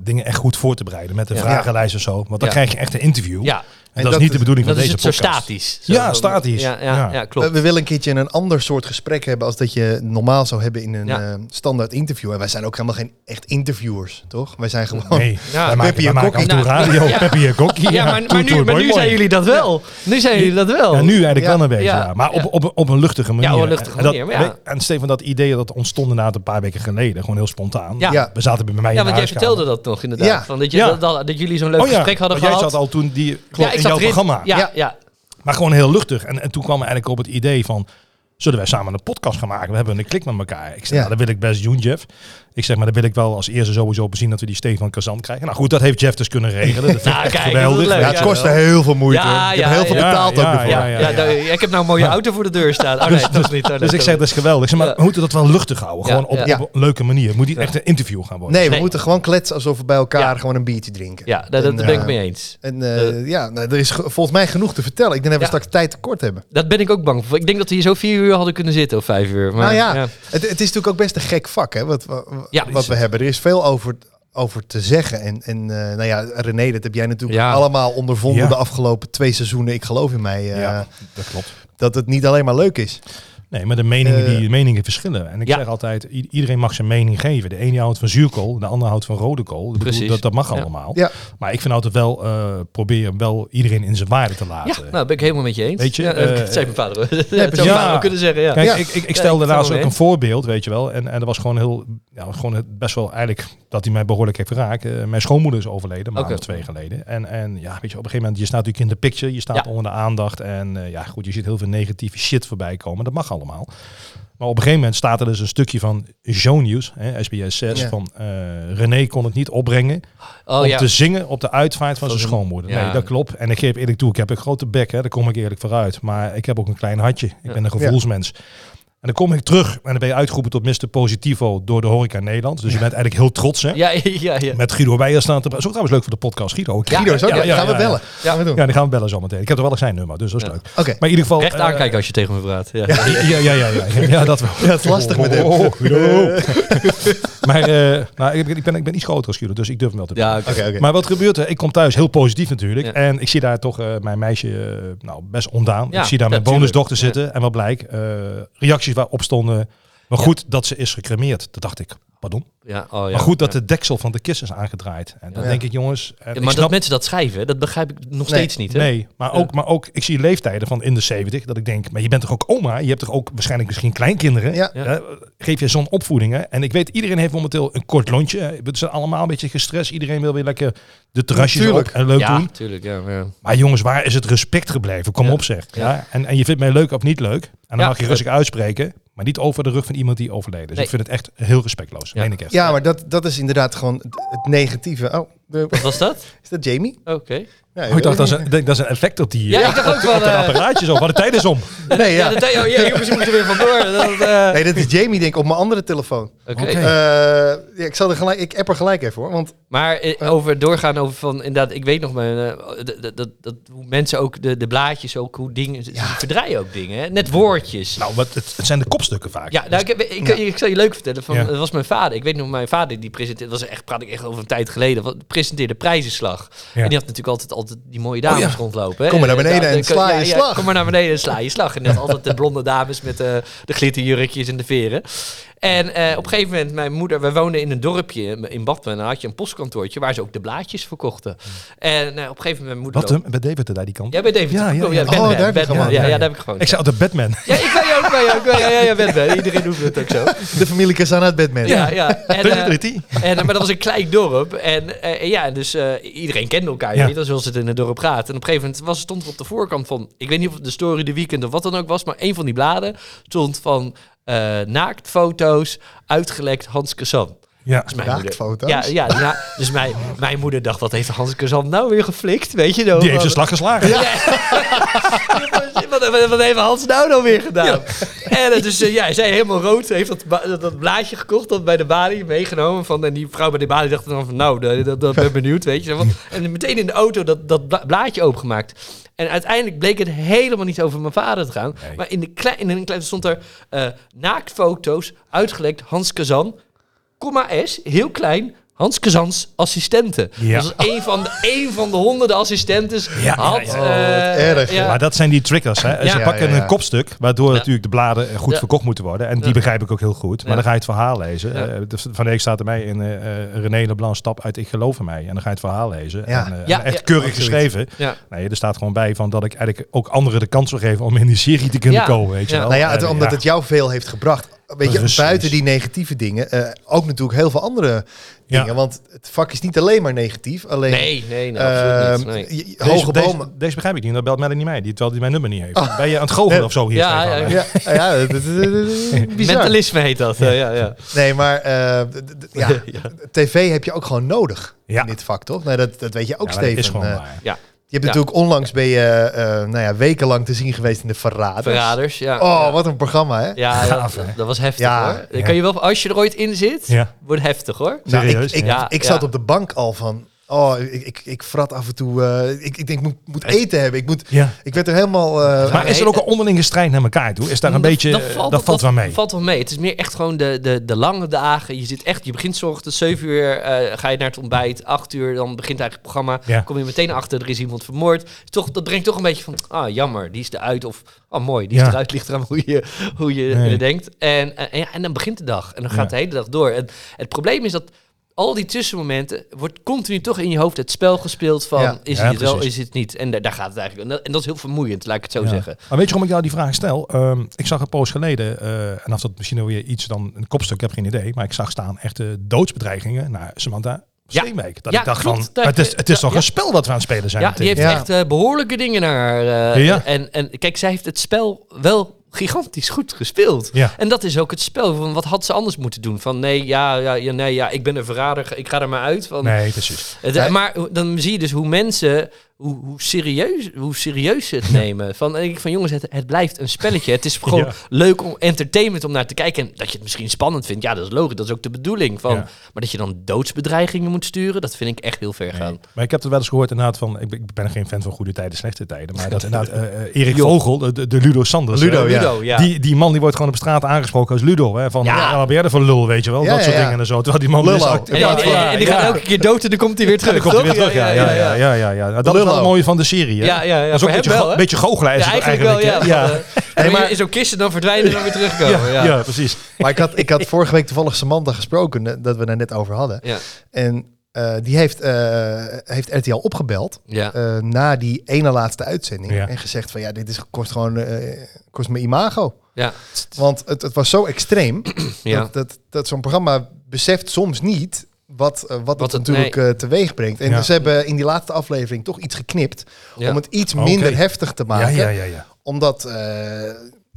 Speaker 3: dingen echt goed voor te bereiden. Met een
Speaker 4: Ja.
Speaker 3: vragenlijst of zo. Want dan
Speaker 4: Ja.
Speaker 3: krijg je echt een interview.
Speaker 4: Ja,
Speaker 3: En
Speaker 1: En
Speaker 3: dat,
Speaker 1: dat
Speaker 3: is niet de
Speaker 1: is-
Speaker 3: bedoeling
Speaker 4: dat
Speaker 3: van
Speaker 4: is
Speaker 3: deze
Speaker 4: het zo
Speaker 3: podcast.
Speaker 4: statisch. Zo
Speaker 3: Ja,
Speaker 4: van-
Speaker 3: statisch.
Speaker 4: Ja, ja, ja.
Speaker 3: Ja.
Speaker 4: klopt.
Speaker 1: We willen een keertje een ander soort gesprek hebben als dat je normaal zou hebben in een
Speaker 4: Ja.
Speaker 1: eh, standaard interview. En wij zijn ook helemaal geen echt interviewers, toch? Wij zijn gewoon...
Speaker 3: Nee, wij
Speaker 4: Ja.
Speaker 1: Peppy
Speaker 3: maken, wij
Speaker 1: en
Speaker 3: maken af en toe
Speaker 4: Kokkie.
Speaker 3: radio.
Speaker 4: Ja.
Speaker 3: Peppy en Kokkie.
Speaker 4: Ja, maar, maar
Speaker 3: Toet,
Speaker 4: nu,
Speaker 3: toet,
Speaker 4: maar
Speaker 3: mooi,
Speaker 4: nu zijn
Speaker 3: mooi.
Speaker 4: jullie dat wel. Nu zijn jullie dat wel.
Speaker 3: Ja, nu eigenlijk
Speaker 1: Ja.
Speaker 3: wel een beetje, ja.
Speaker 4: Ja.
Speaker 3: Maar
Speaker 4: Ja.
Speaker 3: op, op, op een luchtige manier.
Speaker 4: Ja, op een luchtige
Speaker 3: En dat-
Speaker 4: manier, maar ja.
Speaker 3: weet- En Stefan, dat idee dat ontstond inderdaad een paar weken geleden. Gewoon heel spontaan.
Speaker 4: Ja.
Speaker 1: Ja.
Speaker 3: We zaten bij mij
Speaker 4: Ja,
Speaker 3: in de
Speaker 4: want jij
Speaker 3: huiskamer.
Speaker 4: vertelde dat nog inderdaad.
Speaker 1: Ja.
Speaker 4: Van dat, je,
Speaker 3: Ja. Oh
Speaker 4: dat, dat- dat jullie zo'n leuk
Speaker 3: ja,
Speaker 4: gesprek hadden
Speaker 3: want jij
Speaker 4: gehad.
Speaker 3: zat al toen die
Speaker 4: ja,
Speaker 3: klopt, in jouw
Speaker 4: erin.
Speaker 3: programma.
Speaker 4: Ja, ja.
Speaker 1: Ja.
Speaker 4: ja.
Speaker 3: Maar gewoon heel luchtig. En, en toen kwam we eigenlijk op het idee van... Zullen wij samen een podcast gaan maken? We hebben een klik met elkaar. Ik zeg,
Speaker 1: Ja.
Speaker 3: nou, dat wil ik best doen, Jeff. Ik zeg, maar dat wil ik wel als eerste sowieso bezien dat we die Stefan Kazan krijgen. Nou goed, dat heeft Jeff dus kunnen regelen. Dat vind ik
Speaker 4: Nou,
Speaker 3: echt
Speaker 4: kijk, dat
Speaker 3: geweldig.
Speaker 4: is leuk.
Speaker 1: Ja, het
Speaker 4: Ja,
Speaker 1: kostte
Speaker 4: wel.
Speaker 1: heel veel moeite.
Speaker 4: Ja,
Speaker 1: hoor. Ik heb
Speaker 4: ja,
Speaker 1: heel veel
Speaker 4: ja.
Speaker 1: betaald ook
Speaker 3: Ja,
Speaker 1: nog.
Speaker 3: ja, ja.
Speaker 4: daar- ik heb nou een mooie auto voor de deur staan. Oh nee, dat is niet. oh,
Speaker 3: Dus ik
Speaker 4: nee, dat
Speaker 3: zeg,
Speaker 4: is-
Speaker 3: dat is geweldig. Ik zeg, maar
Speaker 4: Ja.
Speaker 3: we moeten dat wel luchtig houden.
Speaker 4: Ja,
Speaker 3: Gewoon op,
Speaker 1: ja.
Speaker 3: op een leuke manier. Moet niet echt een interview gaan worden.
Speaker 1: Nee, we
Speaker 4: Nee.
Speaker 1: moeten gewoon kletsen alsof we bij elkaar
Speaker 4: Ja.
Speaker 1: gewoon een biertje drinken.
Speaker 4: Ja, daar daar
Speaker 1: En,
Speaker 4: ben ik
Speaker 1: eh,
Speaker 4: mee eens.
Speaker 1: En eh, ja, nou, er is ge- volgens mij genoeg te vertellen. Ik denk dat we
Speaker 4: Ja.
Speaker 1: straks tijd tekort hebben.
Speaker 4: Dat ben ik ook bang voor. Ik denk dat we hier zo vier uur hadden kunnen zitten of vijf uur. Maar,
Speaker 1: nou ja, Het, het is natuurlijk ook best een gek vak hè, wat, wa- wa-
Speaker 4: Ja.
Speaker 1: wat we hebben. Er is veel over, over te zeggen. En, en eh, nou ja, René, dat heb jij natuurlijk
Speaker 4: Ja.
Speaker 1: allemaal ondervonden
Speaker 3: Ja.
Speaker 1: de afgelopen twee seizoenen. Ik geloof in mij eh,
Speaker 3: Ja, dat klopt.
Speaker 1: dat het niet alleen maar leuk is.
Speaker 3: Nee, maar de meningen,
Speaker 1: Eh,
Speaker 3: die, de meningen verschillen. En ik
Speaker 4: ja.
Speaker 3: zeg altijd, i- iedereen mag zijn mening geven. De ene houdt van zuurkool, de ander houdt van rode kool. Ik bedoel,
Speaker 4: Precies.
Speaker 3: Dat, dat mag
Speaker 4: Ja.
Speaker 3: allemaal.
Speaker 1: Ja.
Speaker 3: Maar ik vind altijd wel, eh proberen wel iedereen in zijn waarde te
Speaker 4: Ja,
Speaker 3: laten.
Speaker 4: nou, dat ben ik helemaal met je eens.
Speaker 3: eh, Weet je,
Speaker 4: ja,
Speaker 3: eh,
Speaker 4: dat zei mijn vader. ook. dat zou
Speaker 1: precies.
Speaker 4: mijn vader
Speaker 3: Ja.
Speaker 4: ook kunnen zeggen, ja.
Speaker 3: Kijk,
Speaker 1: Ja.
Speaker 3: ik, ik, ik
Speaker 4: ik
Speaker 3: stelde
Speaker 4: sta
Speaker 3: laatst
Speaker 4: wel
Speaker 3: ook
Speaker 4: mee.
Speaker 3: een voorbeeld, weet je wel. En, en dat was gewoon heel, ja, gewoon het- best wel eigenlijk dat hij mij behoorlijk heeft geraakt. Eh, mijn schoonmoeder is overleden, een maand
Speaker 4: Oké.
Speaker 3: of twee geleden. En, en ja, weet je, op een gegeven moment, je staat natuurlijk in de picture, je staat
Speaker 4: Ja.
Speaker 3: onder de aandacht. En eh, ja, goed, je ziet heel veel negatieve shit voorbij komen. Dat mag allemaal. Maar op een gegeven moment staat er dus een stukje van Show News, hè, SBS 6,
Speaker 1: Ja.
Speaker 3: van eh, René kon het niet opbrengen
Speaker 4: Oh
Speaker 3: om
Speaker 4: ja,
Speaker 3: te zingen op de uitvaart van
Speaker 4: Van
Speaker 3: zijn
Speaker 4: zijn-
Speaker 3: schoonmoeder.
Speaker 4: ja.
Speaker 3: Nee, dat klopt. En ik geef eerlijk toe, ik heb een grote bek, hè. daar kom ik eerlijk vooruit. Maar ik heb ook een klein hartje. Ik ben een gevoelsmens. En dan kom ik terug en dan ben je uitgeroepen tot Mr. Positivo door de Horeca Nederland. Dus je bent eigenlijk heel trots, hè?
Speaker 4: ja, ja, ja.
Speaker 3: Met Guido Weijer staan te praten. Zo trouwens leuk voor de podcast, Guido. Ik-
Speaker 1: Guido, zo,
Speaker 3: ja, ja,
Speaker 1: gaan we
Speaker 3: ja,
Speaker 1: bellen. Gaan we doen.
Speaker 3: Ja, die gaan we bellen zometeen. Ik heb er wel eens zijn nummer, dus dat is
Speaker 4: Ja.
Speaker 3: leuk.
Speaker 1: Oké.
Speaker 3: Maar in ieder geval...
Speaker 4: Recht
Speaker 3: eh,
Speaker 4: aankijken als je tegen me praat. Ja. Ja.
Speaker 3: ja, ja, ja, ja, ja, ja, dat wel. Oh, Dat
Speaker 1: is lastig met hem.
Speaker 3: maar eh, nou, ik, ben, ik, ben, ik ben iets groter als Guido, dus ik durf hem wel te doen.
Speaker 4: oké.
Speaker 1: Oké, oké.
Speaker 3: Maar wat gebeurt er? Ik kom thuis heel positief natuurlijk.
Speaker 4: Ja.
Speaker 3: En ik zie daar toch eh, mijn meisje eh, nou, best ondaan.
Speaker 4: Ja,
Speaker 3: ik zie daar
Speaker 4: ja,
Speaker 3: mijn
Speaker 4: tuurlijk.
Speaker 3: bonusdochter
Speaker 4: Ja.
Speaker 3: zitten. En wat blijkt, eh, reacties waarop stonden. Maar
Speaker 4: Ja.
Speaker 3: goed dat ze is gecremeerd. Dat dacht ik. Pardon.
Speaker 4: Ja, oh, ja.
Speaker 3: maar goed dat
Speaker 4: Ja.
Speaker 3: de deksel van de kist is aangedraaid. En dan
Speaker 1: Ja.
Speaker 3: denk ik, jongens. En
Speaker 4: Ja,
Speaker 3: ik
Speaker 4: maar dat
Speaker 3: snap,
Speaker 4: mensen dat schrijven, dat begrijp ik nog steeds niet. Hè?
Speaker 3: Nee, maar ook, maar ook, ik zie leeftijden van in de 70 dat ik denk, maar je bent toch ook oma? Je hebt toch ook waarschijnlijk misschien kleinkinderen?
Speaker 1: Ja.
Speaker 4: Ja.
Speaker 3: Eh, geef je zo'n opvoeding? Hè? En ik weet, iedereen heeft momenteel een kort lontje. hè. We zijn allemaal een beetje gestrest. Iedereen wil weer lekker de terrasjes op
Speaker 1: Tuurlijk.
Speaker 3: en leuk
Speaker 4: ja,
Speaker 3: doen.
Speaker 4: tuurlijk. Ja, ja.
Speaker 3: Maar jongens, waar is het respect gebleven? Kom
Speaker 4: Ja.
Speaker 3: op zeg.
Speaker 4: Ja.
Speaker 3: Ja. En, en je vindt mij leuk of niet leuk. En dan
Speaker 4: Ja.
Speaker 3: mag je rustig uitspreken. Maar niet over de rug van iemand die overleden is.
Speaker 4: Nee.
Speaker 3: Ik vind het echt heel respectloos.
Speaker 4: Ja.
Speaker 3: Meen ik echt.
Speaker 1: Ja, maar dat, dat is inderdaad gewoon het- het negatieve. Oh, de-
Speaker 4: Wat was dat?
Speaker 1: is dat Jamie?
Speaker 4: Oké.
Speaker 1: Ja,
Speaker 3: Oh, ik dacht, dat is, een, ik denk, dat is een effect op die
Speaker 4: Ja,
Speaker 3: eh,
Speaker 4: ik dacht ook wel...
Speaker 3: op dat
Speaker 4: eh,
Speaker 3: apparaatje zo. Maar de tijd is om.
Speaker 1: Nee,
Speaker 4: ja,
Speaker 1: ja.
Speaker 4: dat deed- oh, ja, jongens, we moeten weer vandoor. Dat, eh,
Speaker 1: nee, dat is Jamie, denk ik, op mijn andere telefoon.
Speaker 4: Oké.
Speaker 3: Oké.
Speaker 1: Eh, ja, ik, zal er gelijk, ik app er gelijk even hoor. Want
Speaker 4: Maar eh, over doorgaan over van inderdaad, ik weet nog mijn, eh, dat- dat, dat, dat, hoe mensen ook de, de blaadjes ook hoe dingen ze ze verdraaien ook dingen, hè? net woordjes.
Speaker 3: Nou, wat, het, het zijn de kopstukken vaak.
Speaker 4: Ja, nou, ik, heb- ik, ik, ik zal je leuk vertellen. Van,
Speaker 3: Ja.
Speaker 4: Het was mijn vader. Ik weet nog, mijn vader die presenteerde, was echt, praat ik echt over een tijd geleden, wat- presenteerde prijzenslag.
Speaker 3: Ja.
Speaker 4: En die had natuurlijk altijd, altijd die mooie dames
Speaker 3: Oh, ja.
Speaker 4: rondlopen. Hè?
Speaker 1: Kom maar naar
Speaker 4: Eh,
Speaker 1: beneden
Speaker 4: daar-
Speaker 1: en
Speaker 4: daar-
Speaker 1: sla je slag.
Speaker 4: Kom maar naar beneden en sla je slag. En dat altijd de blonde dames met eh, de glitterjurkjes en de veren. En eh, op een gegeven moment, mijn moeder, we woonden in een dorpje in- in Badmen. En dan had je een postkantoortje waar ze ook de blaadjes verkochten. En eh, op een gegeven moment, mijn moeder.
Speaker 3: Wat hem? Bij David er daar die kant.
Speaker 4: Jij bent David.
Speaker 3: Ja, ja,
Speaker 4: Oh,
Speaker 3: ja.
Speaker 4: Batman,
Speaker 1: Oh, daar heb je
Speaker 4: Batman.
Speaker 1: gewoon.
Speaker 4: Ja,
Speaker 3: Ja,
Speaker 4: ja,
Speaker 3: ja.
Speaker 4: daar heb ik gewoon.
Speaker 3: Ik zei altijd Batman.
Speaker 4: Ja, ik ben je ook, ben je ook. Ja, ja, ja, Batman. Iedereen doet het ook zo.
Speaker 1: de familie Kazan uit Batman.
Speaker 4: Ja, ja. En, eh,
Speaker 3: Trinity.
Speaker 4: en, maar dat was een klein dorp. En eh, en ja, dus eh, iedereen kende elkaar,
Speaker 3: Ja.
Speaker 4: weet je, zoals het in het dorp gaat. En op een gegeven moment was, stond er op de voorkant van... Ik weet niet of het de story, de weekend of wat dan ook was... maar een van die bladen stond van eh, naaktfoto's uitgelekt Hans Kassan.
Speaker 3: Ja.
Speaker 4: Dus mijn moeder-
Speaker 1: Naaktfoto's?
Speaker 4: Ja, ja, ja. dus mijn, mijn moeder dacht, wat heeft Hans Kazan nou weer geflikt? Weet je wel.
Speaker 3: Die heeft zijn slag geslagen.
Speaker 4: wat, wat- wat heeft Hans nou dan weer gedaan? En eh, dus eh, ja, zij helemaal rood heeft dat, ba- dat, dat blaadje gekocht, dat bij de balie meegenomen. Van, en die vrouw bij de balie dacht dan van, nou, dat, dat, dat ben ik benieuwd, weet je. Zo van- En meteen in de auto dat, dat bla- blaadje opengemaakt. En uiteindelijk bleek het helemaal niet over mijn vader te gaan.
Speaker 3: Nee.
Speaker 4: Maar in, de klei, in een klein stond er eh, naaktfoto's, uitgelekt, Hans Kazan, comma S, heel klein. Hans Kazans assistenten.
Speaker 3: Ja.
Speaker 4: Dus een van, de, een van de honderden assistenten
Speaker 3: Ja.
Speaker 4: had...
Speaker 3: Ja, ja.
Speaker 1: Oh, wat
Speaker 4: eh,
Speaker 1: erg, ja.
Speaker 3: Maar dat zijn die triggers. Hè. Ze
Speaker 4: Ja,
Speaker 3: pakken
Speaker 1: ja, ja.
Speaker 3: een kopstuk, waardoor
Speaker 4: Ja.
Speaker 3: natuurlijk de bladen eh, goed
Speaker 4: Ja.
Speaker 3: verkocht moeten worden. En die
Speaker 4: Ja.
Speaker 3: begrijp ik ook heel goed. Maar
Speaker 4: Ja.
Speaker 3: dan ga je het verhaal lezen.
Speaker 4: Ja.
Speaker 3: Eh, dus van de week staat er mij in eh, eh, René Leblanc stap uit Ik geloof in mij. En dan ga je het verhaal lezen.
Speaker 1: Ja.
Speaker 3: En, eh,
Speaker 4: Ja,
Speaker 3: echt
Speaker 4: ja.
Speaker 3: keurig
Speaker 1: Ook zoiets.
Speaker 3: geschreven.
Speaker 4: Ja.
Speaker 3: Nee, er staat gewoon bij van dat ik eigenlijk ook anderen de kans wil geven om in die serie te kunnen
Speaker 4: Ja.
Speaker 3: komen. Weet je
Speaker 4: Ja.
Speaker 3: wel.
Speaker 1: Nou ja, het-
Speaker 3: Eh,
Speaker 1: omdat het jou veel heeft gebracht. Weet je,
Speaker 3: Precies.
Speaker 1: buiten die negatieve dingen, eh, ook natuurlijk heel veel andere
Speaker 3: Ja.
Speaker 1: dingen. Want het vak is niet alleen maar negatief. Alleen,
Speaker 4: Nee, nee, nee,
Speaker 1: eh,
Speaker 4: absoluut niet. Nee.
Speaker 1: je- je-
Speaker 3: Deze-
Speaker 1: hoge
Speaker 3: deze,
Speaker 1: bomen.
Speaker 3: Deze, begrijp ik niet. Dan belt Melanie niet mij. Die, terwijl die mijn nummer niet heeft. Ben je aan het goochelen
Speaker 1: Nee.
Speaker 3: of zo hier?
Speaker 4: Ja,
Speaker 3: Stefan?
Speaker 4: ja,
Speaker 1: Ja, ja, dat is- dat is bizar.
Speaker 4: Mentalisme heet dat. eh, Ja, ja.
Speaker 1: Nee, maar eh, d- d- ja, tv heb je ook gewoon nodig
Speaker 3: Ja.
Speaker 1: in dit vak, toch? Nee, dat, dat weet je ook,
Speaker 3: Ja, maar dat
Speaker 1: Steven.
Speaker 3: is gewoon
Speaker 1: Eh,
Speaker 3: waar.
Speaker 4: ja.
Speaker 1: je hebt
Speaker 4: Ja.
Speaker 1: natuurlijk onlangs ben je eh, nou ja, wekenlang te zien geweest in de Verraders.
Speaker 4: Verraders, ja.
Speaker 1: Oh,
Speaker 4: ja.
Speaker 1: wat een programma, hè?
Speaker 4: Ja, ja,
Speaker 3: Gaaf,
Speaker 4: dat,
Speaker 3: hè?
Speaker 4: dat was heftig
Speaker 1: Ja,
Speaker 4: hoor. Dan
Speaker 3: ja.
Speaker 4: Kan je wel, als je er ooit in zit,
Speaker 3: Ja.
Speaker 4: wordt heftig hoor.
Speaker 1: Nou, ik,
Speaker 3: Serieus,
Speaker 1: ik,
Speaker 4: ja.
Speaker 1: ik
Speaker 4: Ja,
Speaker 1: zat
Speaker 4: ja.
Speaker 1: op de bank al van. Oh, ik, ik, ik frat af en toe. eh, ik, ik denk, ik moet, moet eten hebben. Ik, moet,
Speaker 3: Ja.
Speaker 1: ik werd er helemaal. eh,
Speaker 3: Maar is er
Speaker 4: nee,
Speaker 3: ook een onderlinge strijd naar elkaar toe? Is daar een
Speaker 4: Dat-
Speaker 3: beetje...
Speaker 4: dat
Speaker 3: eh,
Speaker 4: valt,
Speaker 3: Dat valt wel mee.
Speaker 4: valt wel mee. Het is meer echt gewoon de, de, de lange dagen. Je zit echt, je begint 's ochtends 7 uur, eh, ga je naar het ontbijt, 8 uur, dan begint eigenlijk het programma.
Speaker 3: Ja.
Speaker 4: Kom je meteen achter, er is iemand vermoord. Toch, dat brengt toch een beetje van, ah jammer, die is eruit. Of, ah mooi, die is
Speaker 3: Ja.
Speaker 4: eruit, ligt eraan hoe je, hoe je
Speaker 3: Nee.
Speaker 4: eh, denkt. En, eh, en, ja, en dan begint de dag. En dan gaat
Speaker 3: Ja.
Speaker 4: de hele dag door. En het probleem is dat al die tussenmomenten wordt continu toch in je hoofd het spel gespeeld van,
Speaker 1: Ja.
Speaker 4: is
Speaker 3: Ja,
Speaker 4: het het wel,
Speaker 3: precies.
Speaker 4: is het niet? En daar, daar gaat het eigenlijk. En dat, en dat is heel vermoeiend, laat ik het zo
Speaker 3: Ja.
Speaker 4: zeggen.
Speaker 3: Maar weet je waarom ik jou die vraag stel? Ehm, ik zag een poos geleden, eh, en of dat misschien weer iets dan een kopstuk, ik heb geen idee, maar ik zag staan echte doodsbedreigingen naar Samantha
Speaker 4: Ja.
Speaker 3: Steenwijk. Dat
Speaker 4: Ja,
Speaker 3: ik dacht
Speaker 4: klopt.
Speaker 3: van,
Speaker 4: Daar-
Speaker 3: het is, het is
Speaker 4: ja,
Speaker 3: toch
Speaker 4: ja.
Speaker 3: een spel dat we aan het spelen zijn.
Speaker 4: Ja, die
Speaker 3: natuurlijk.
Speaker 4: heeft
Speaker 1: Ja.
Speaker 4: echt eh, behoorlijke dingen naar. eh,
Speaker 3: Ja.
Speaker 4: en, en kijk, zij heeft het spel wel gigantisch goed gespeeld.
Speaker 3: Ja.
Speaker 4: En dat is ook het spel. Van wat had ze anders moeten doen? Van nee, ja, ja, ja, nee, ja ik ben een verrader, ik ga er maar uit. Van,
Speaker 3: Nee, precies.
Speaker 4: Het-
Speaker 1: Nee.
Speaker 4: Maar dan zie je dus hoe mensen, hoe, hoe, serieus, hoe serieus ze het nemen. Van, en ik denk van jongens, het, het blijft een spelletje. Het is gewoon
Speaker 3: Ja.
Speaker 4: leuk om entertainment om naar te kijken. En dat je het misschien spannend vindt, ja, dat is logisch. Dat is ook de bedoeling. Van,
Speaker 3: Ja.
Speaker 4: Maar dat je dan doodsbedreigingen moet sturen, dat vind ik echt heel ver gaan.
Speaker 3: Maar ik heb er wel eens gehoord inderdaad van, ik ben- ik ben geen fan van goede tijden, slechte tijden, maar dat inderdaad eh, eh, Erik Vogel, de- de, de Ludo Sanders.
Speaker 1: Ludo,
Speaker 3: eh,
Speaker 1: ja.
Speaker 4: Ludo, ja.
Speaker 3: Die, die man die wordt gewoon op straat aangesproken als Ludo. Hè, van,
Speaker 4: Ja.
Speaker 3: ja, wat ben jij er voor lul, weet je wel.
Speaker 1: Ja,
Speaker 3: dat
Speaker 1: ja,
Speaker 3: soort
Speaker 1: ja.
Speaker 3: dingen en zo. Terwijl die man... dus
Speaker 1: Lullo.
Speaker 3: is
Speaker 1: En
Speaker 3: act-
Speaker 4: En die,
Speaker 3: Ja,
Speaker 4: en die- en die
Speaker 3: ja.
Speaker 4: gaat elke keer dood en dan komt hij weer terug.
Speaker 3: Dan komt hij weer
Speaker 4: toch?
Speaker 3: terug, ja. ja, ja, ja, ja, ja. Dat is wel het
Speaker 1: Lullo.
Speaker 3: mooie van de serie, hè?
Speaker 4: Ja, ja, ja.
Speaker 3: Dat is
Speaker 4: Voor
Speaker 3: ook een
Speaker 4: hem
Speaker 3: beetje,
Speaker 4: wel,
Speaker 3: go-
Speaker 4: hè?
Speaker 3: beetje goochelen is
Speaker 4: Ja,
Speaker 3: het
Speaker 4: eigenlijk wel, ja.
Speaker 3: hè? ja.
Speaker 4: Van, eh,
Speaker 1: Nee,
Speaker 4: maar...
Speaker 1: maar-
Speaker 4: Is ook kisten, dan verdwijnen en dan weer terugkomen.
Speaker 3: Ja,
Speaker 4: Ja, ja.
Speaker 3: precies.
Speaker 1: Maar ik had, ik had vorige week toevallig Samantha gesproken, eh, dat we daar net over hadden.
Speaker 4: ja.
Speaker 1: En eh, die heeft, eh, heeft RTL opgebeld eh, na die ene laatste uitzending.
Speaker 3: Ja.
Speaker 1: En gezegd van ja, dit is, kost gewoon eh, kost mijn imago.
Speaker 4: Ja.
Speaker 1: Want het, het was zo extreem
Speaker 4: Ja.
Speaker 1: dat, dat, dat zo'n programma beseft soms niet wat, eh, wat, het,
Speaker 4: het-
Speaker 1: natuurlijk eh, teweeg brengt. En
Speaker 3: Ja.
Speaker 1: ze hebben in die laatste aflevering toch iets geknipt
Speaker 4: Ja.
Speaker 1: om het iets
Speaker 3: Oh, Oké.
Speaker 1: minder heftig te
Speaker 3: Ja,
Speaker 1: maken.
Speaker 3: ja, ja, ja.
Speaker 1: Omdat, eh,